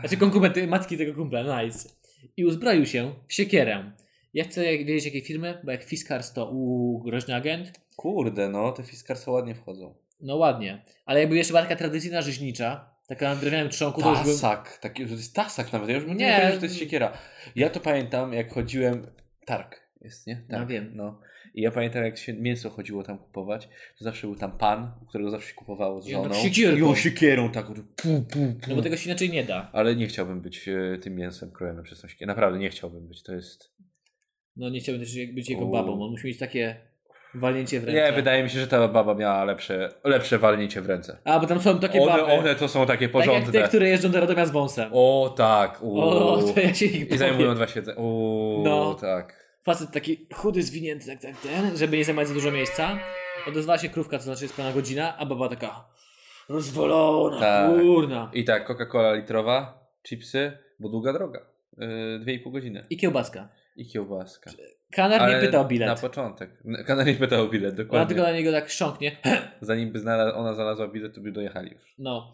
[SPEAKER 1] Znaczy konkubent tej matki tego kumpla, nice. I uzbroił się w siekierę. Ja chcę jak- wiedzieć jakiej firmy, bo jak Fiskars to u groźny agent,
[SPEAKER 2] Kurde, no, te fiskarstwa ładnie wchodzą.
[SPEAKER 1] no ładnie. Ale jakby jeszcze była taka tradycyjna rzeźnicza, taka na drewnianym trzonku, to już był...
[SPEAKER 2] Tasak, taki, to jest tasak nawet, ja już bym nie,
[SPEAKER 1] Nie.
[SPEAKER 2] nie powiedział, że to jest siekiera. Ja to pamiętam, jak chodziłem, targ jest, nie?
[SPEAKER 1] No
[SPEAKER 2] Targ,
[SPEAKER 1] wiem.
[SPEAKER 2] No. I ja pamiętam, jak się mięso chodziło tam kupować, to zawsze był tam pan, u którego zawsze się kupowało z
[SPEAKER 1] I on
[SPEAKER 2] żoną.
[SPEAKER 1] tak siekierką.
[SPEAKER 2] I on siekierą tak, pu, pu, pu.
[SPEAKER 1] No bo tego się inaczej nie da.
[SPEAKER 2] Ale nie chciałbym być e, tym mięsem krojonym przez tą siekierę. Naprawdę nie chciałbym być, to jest...
[SPEAKER 1] No nie chciałbym też być jego
[SPEAKER 2] U.
[SPEAKER 1] babą, on musi mieć takie walnięcie w ręce.
[SPEAKER 2] Nie, wydaje mi się, że ta baba miała lepsze, lepsze walnięcie w ręce.
[SPEAKER 1] A, bo tam są takie
[SPEAKER 2] One,
[SPEAKER 1] baby.
[SPEAKER 2] one to są takie
[SPEAKER 1] Tak jak
[SPEAKER 2] porządne.
[SPEAKER 1] te, które jeżdżą do Radomia z wąsem.
[SPEAKER 2] O tak, uuu.
[SPEAKER 1] O, to ja się ich
[SPEAKER 2] I zajmują dwa siedzenia. Uuu,
[SPEAKER 1] No.
[SPEAKER 2] tak.
[SPEAKER 1] Facet taki chudy, zwinięty, tak, tak, ten, żeby nie zajmować za dużo miejsca. Odezwała się krówka, to znaczy jest pełna godzina, a baba taka rozwolona,
[SPEAKER 2] Tak.
[SPEAKER 1] kurna.
[SPEAKER 2] I tak, Coca-Cola litrowa, chipsy, bo długa droga. Yy, Dwie i pół godziny.
[SPEAKER 1] I kiełbaska.
[SPEAKER 2] I kiełbaska.
[SPEAKER 1] Kanar
[SPEAKER 2] Ale
[SPEAKER 1] nie pyta o
[SPEAKER 2] Na
[SPEAKER 1] bilet.
[SPEAKER 2] początek. Kanar nie pytał o bilet,
[SPEAKER 1] Ona
[SPEAKER 2] dokładnie.
[SPEAKER 1] tylko na niego tak chrząknie.
[SPEAKER 2] Zanim by znalaz- ona znalazła bilet, to by dojechali już.
[SPEAKER 1] No.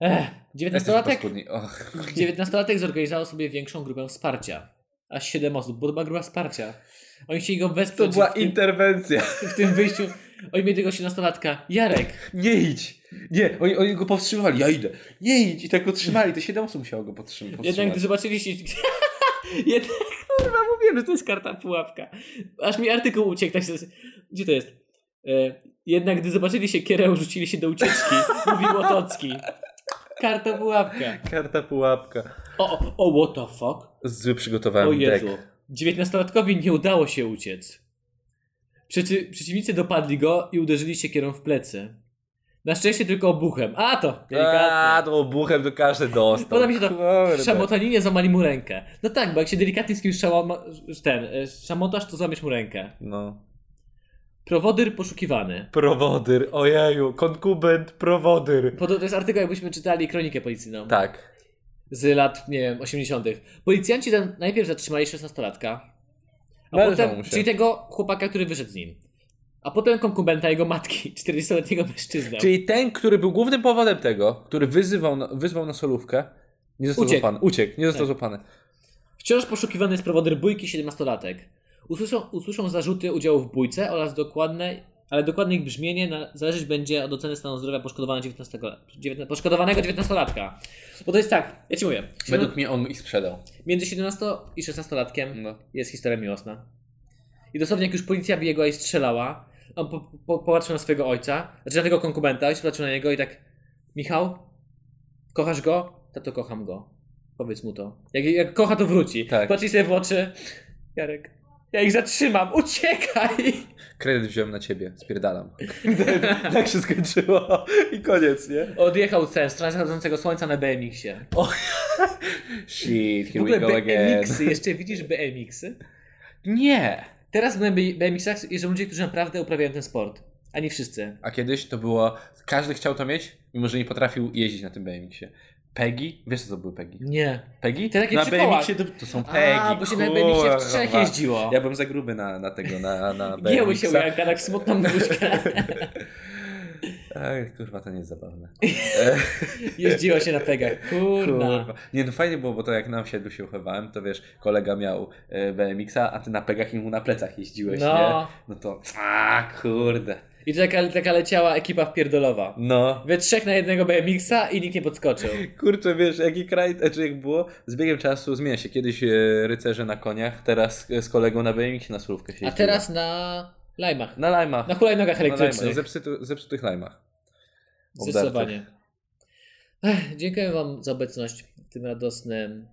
[SPEAKER 1] Ech,
[SPEAKER 2] Jesteśmy
[SPEAKER 1] 19-latek,
[SPEAKER 2] paskudni. Och.
[SPEAKER 1] 19-latek zorganizował sobie większą grupę wsparcia. Aż 7 osób, bo to była grupa wsparcia. Oni chcieli go
[SPEAKER 2] To
[SPEAKER 1] wesprzeć
[SPEAKER 2] była
[SPEAKER 1] w, tym,
[SPEAKER 2] interwencja.
[SPEAKER 1] w tym wyjściu. Oni mieli tego 18-latka. Jarek,
[SPEAKER 2] Nie idź. Nie, oni, oni go powstrzymali. Ja idę. Nie idź. I tak go trzymali. Te siedem osób musiało go podtrzym- powstrzymać.
[SPEAKER 1] Jednak gdy zobaczyliście. Jednak, kurwa, mówiłem, że to jest karta pułapka. Aż mi artykuł uciekł. Tak się... Gdzie to jest? E, jednak gdy zobaczyli się kierę, rzucili się do ucieczki. Mówi Łotocki. Karta pułapka.
[SPEAKER 2] Karta pułapka.
[SPEAKER 1] O, o, o, what the fuck?
[SPEAKER 2] Zły przygotowałem
[SPEAKER 1] O
[SPEAKER 2] dek.
[SPEAKER 1] Jezu. Dziewiętnastolatkowi nie udało się uciec. Przeci przeciwnicy dopadli go i uderzyli się kierą w plecy. Na szczęście tylko obuchem. A to!
[SPEAKER 2] A,
[SPEAKER 1] Delikatnie.
[SPEAKER 2] to obuchem to każdy dostał.
[SPEAKER 1] Podoba mi się to.
[SPEAKER 2] Kurde.
[SPEAKER 1] W szamotaninie złamali mu rękę. No tak, bo jak się delikatnie z kimś szałama, ten, e, szamotasz, to złamiesz mu rękę.
[SPEAKER 2] No.
[SPEAKER 1] Prowodyr poszukiwany.
[SPEAKER 2] Prowodyr, ojeju, konkubent, prowodyr.
[SPEAKER 1] Pod, to jest artykuł, jakbyśmy czytali kronikę policyjną.
[SPEAKER 2] Tak.
[SPEAKER 1] Z lat, nie wiem, 80. Policjanci za, najpierw zatrzymali 16-latka. A
[SPEAKER 2] Należało
[SPEAKER 1] potem,
[SPEAKER 2] mu się.
[SPEAKER 1] czyli tego chłopaka, który wyszedł z nim. A potem konkubenta jego matki, 40-letniego mężczyznę.
[SPEAKER 2] Czyli ten, który był głównym powodem tego, który wyzywał na, wyzwał na solówkę, nie został
[SPEAKER 1] Uciekł.
[SPEAKER 2] złapany. Uciekł, nie został
[SPEAKER 1] Tak.
[SPEAKER 2] złapany.
[SPEAKER 1] Wciąż poszukiwany jest prowodyr bójki 17-latek. Usłyszą, usłyszą zarzuty udziału w bójce oraz dokładne, ale dokładne ich brzmienie na, zależeć będzie od oceny stanu zdrowia poszkodowanego 19, dziewiętna- poszkodowanego 19-latka. Bo to jest tak, ja ci mówię,
[SPEAKER 2] Według mnie on ich sprzedał.
[SPEAKER 1] między 17 i 16-latkiem
[SPEAKER 2] No.
[SPEAKER 1] jest historia miłosna. I dosłownie jak już policja biegła i strzelała, on po, po, popatrzył na swojego ojca, znaczy na tego konkubenta i popatrzył na niego i tak Michał, kochasz go? Tato, kocham go. Powiedz mu to. Jak, jak kocha, to wróci.
[SPEAKER 2] Tak.
[SPEAKER 1] Patrzyj sobie w oczy. Jarek, ja ich zatrzymam, uciekaj!
[SPEAKER 2] Kredyt wziąłem na ciebie, spierdalam. tak się skończyło i koniec, nie?
[SPEAKER 1] Odjechał ten, strona zachodzącego słońca na BMX-ie.
[SPEAKER 2] Shit,
[SPEAKER 1] W
[SPEAKER 2] here we
[SPEAKER 1] ogóle
[SPEAKER 2] go again.
[SPEAKER 1] BMX-y, jeszcze widzisz BMX-y?
[SPEAKER 2] Nie!
[SPEAKER 1] Teraz w BMX-ach jeżdżą ludzie, którzy naprawdę uprawiają ten sport. A nie wszyscy.
[SPEAKER 2] A kiedyś to było, każdy chciał to mieć, mimo że nie potrafił jeździć na tym BMX-ie. Pegi? Wiesz co to były Pegi?
[SPEAKER 1] Nie.
[SPEAKER 2] Pegi?
[SPEAKER 1] Te takie
[SPEAKER 2] na
[SPEAKER 1] przy kołach.
[SPEAKER 2] BMX-ie to, to są Pegi.
[SPEAKER 1] A, bo się na BMX-ie w trzech
[SPEAKER 2] kurwa.
[SPEAKER 1] jeździło.
[SPEAKER 2] Ja bym za gruby na, na tego, na, na BMX-a.
[SPEAKER 1] Gieły się u Janka, tak smutną buźkę.
[SPEAKER 2] Ej, kurwa, to nie jest zabawne.
[SPEAKER 1] Jeździło się na pegach. Kurna.
[SPEAKER 2] Kurwa. Nie, no fajnie było, bo to jak na osiedlu się uchowałem, to wiesz, kolega miał e, BMX-a, a ty na Pegach i mu na plecach jeździłeś, nie?
[SPEAKER 1] No.
[SPEAKER 2] No to, a kurde.
[SPEAKER 1] I to taka, taka leciała ekipa wpierdolowa.
[SPEAKER 2] No.
[SPEAKER 1] We trzech na jednego BMX-a i nikt nie podskoczył.
[SPEAKER 2] Kurczę, wiesz, jaki kraj, znaczy jak było, z biegiem czasu zmienia się. Kiedyś e, rycerze na koniach, teraz e, z kolegą na BMX na surówkę się
[SPEAKER 1] A teraz na lajmach.
[SPEAKER 2] Na lajmach.
[SPEAKER 1] Na hulajnogach
[SPEAKER 2] na lajmach. no,
[SPEAKER 1] elektrycznych.
[SPEAKER 2] Zepsuty, zepsutych lajmach. Obdartych.
[SPEAKER 1] Zdecydowanie. Ech, Dziękuję Wam za obecność w tym radosnym.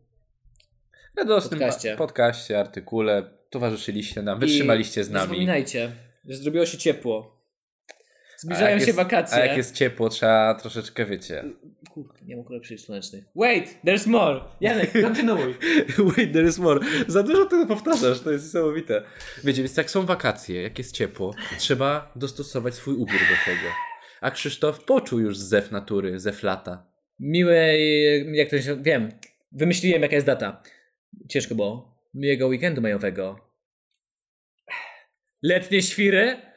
[SPEAKER 2] Radosnym podcaście.
[SPEAKER 1] Podcaście.
[SPEAKER 2] podcaście, artykule, towarzyszyliście nam, wytrzymaliście
[SPEAKER 1] I
[SPEAKER 2] z
[SPEAKER 1] Nie
[SPEAKER 2] nami.
[SPEAKER 1] zapominajcie, że zrobiło się ciepło.
[SPEAKER 2] A
[SPEAKER 1] Zbliżają
[SPEAKER 2] jak
[SPEAKER 1] się
[SPEAKER 2] jest-
[SPEAKER 1] wakacje.
[SPEAKER 2] A jak jest ciepło, trzeba troszeczkę, wiecie...
[SPEAKER 1] Kurde, nie mam lepszych słonecznych. Wait, there's more! Janek, kontynuuj.
[SPEAKER 2] Wait, there is more. Za dużo tego powtarzasz, to jest niesamowite. Wiecie, więc jak są wakacje, jak jest ciepło, trzeba dostosować swój ubiór do tego. A Krzysztof poczuł już zew natury, zew lata.
[SPEAKER 1] Miłej, jak to się, wiem, wymyśliłem jaka jest data. Ciężko było. Miłego weekendu majowego. Letnie świry?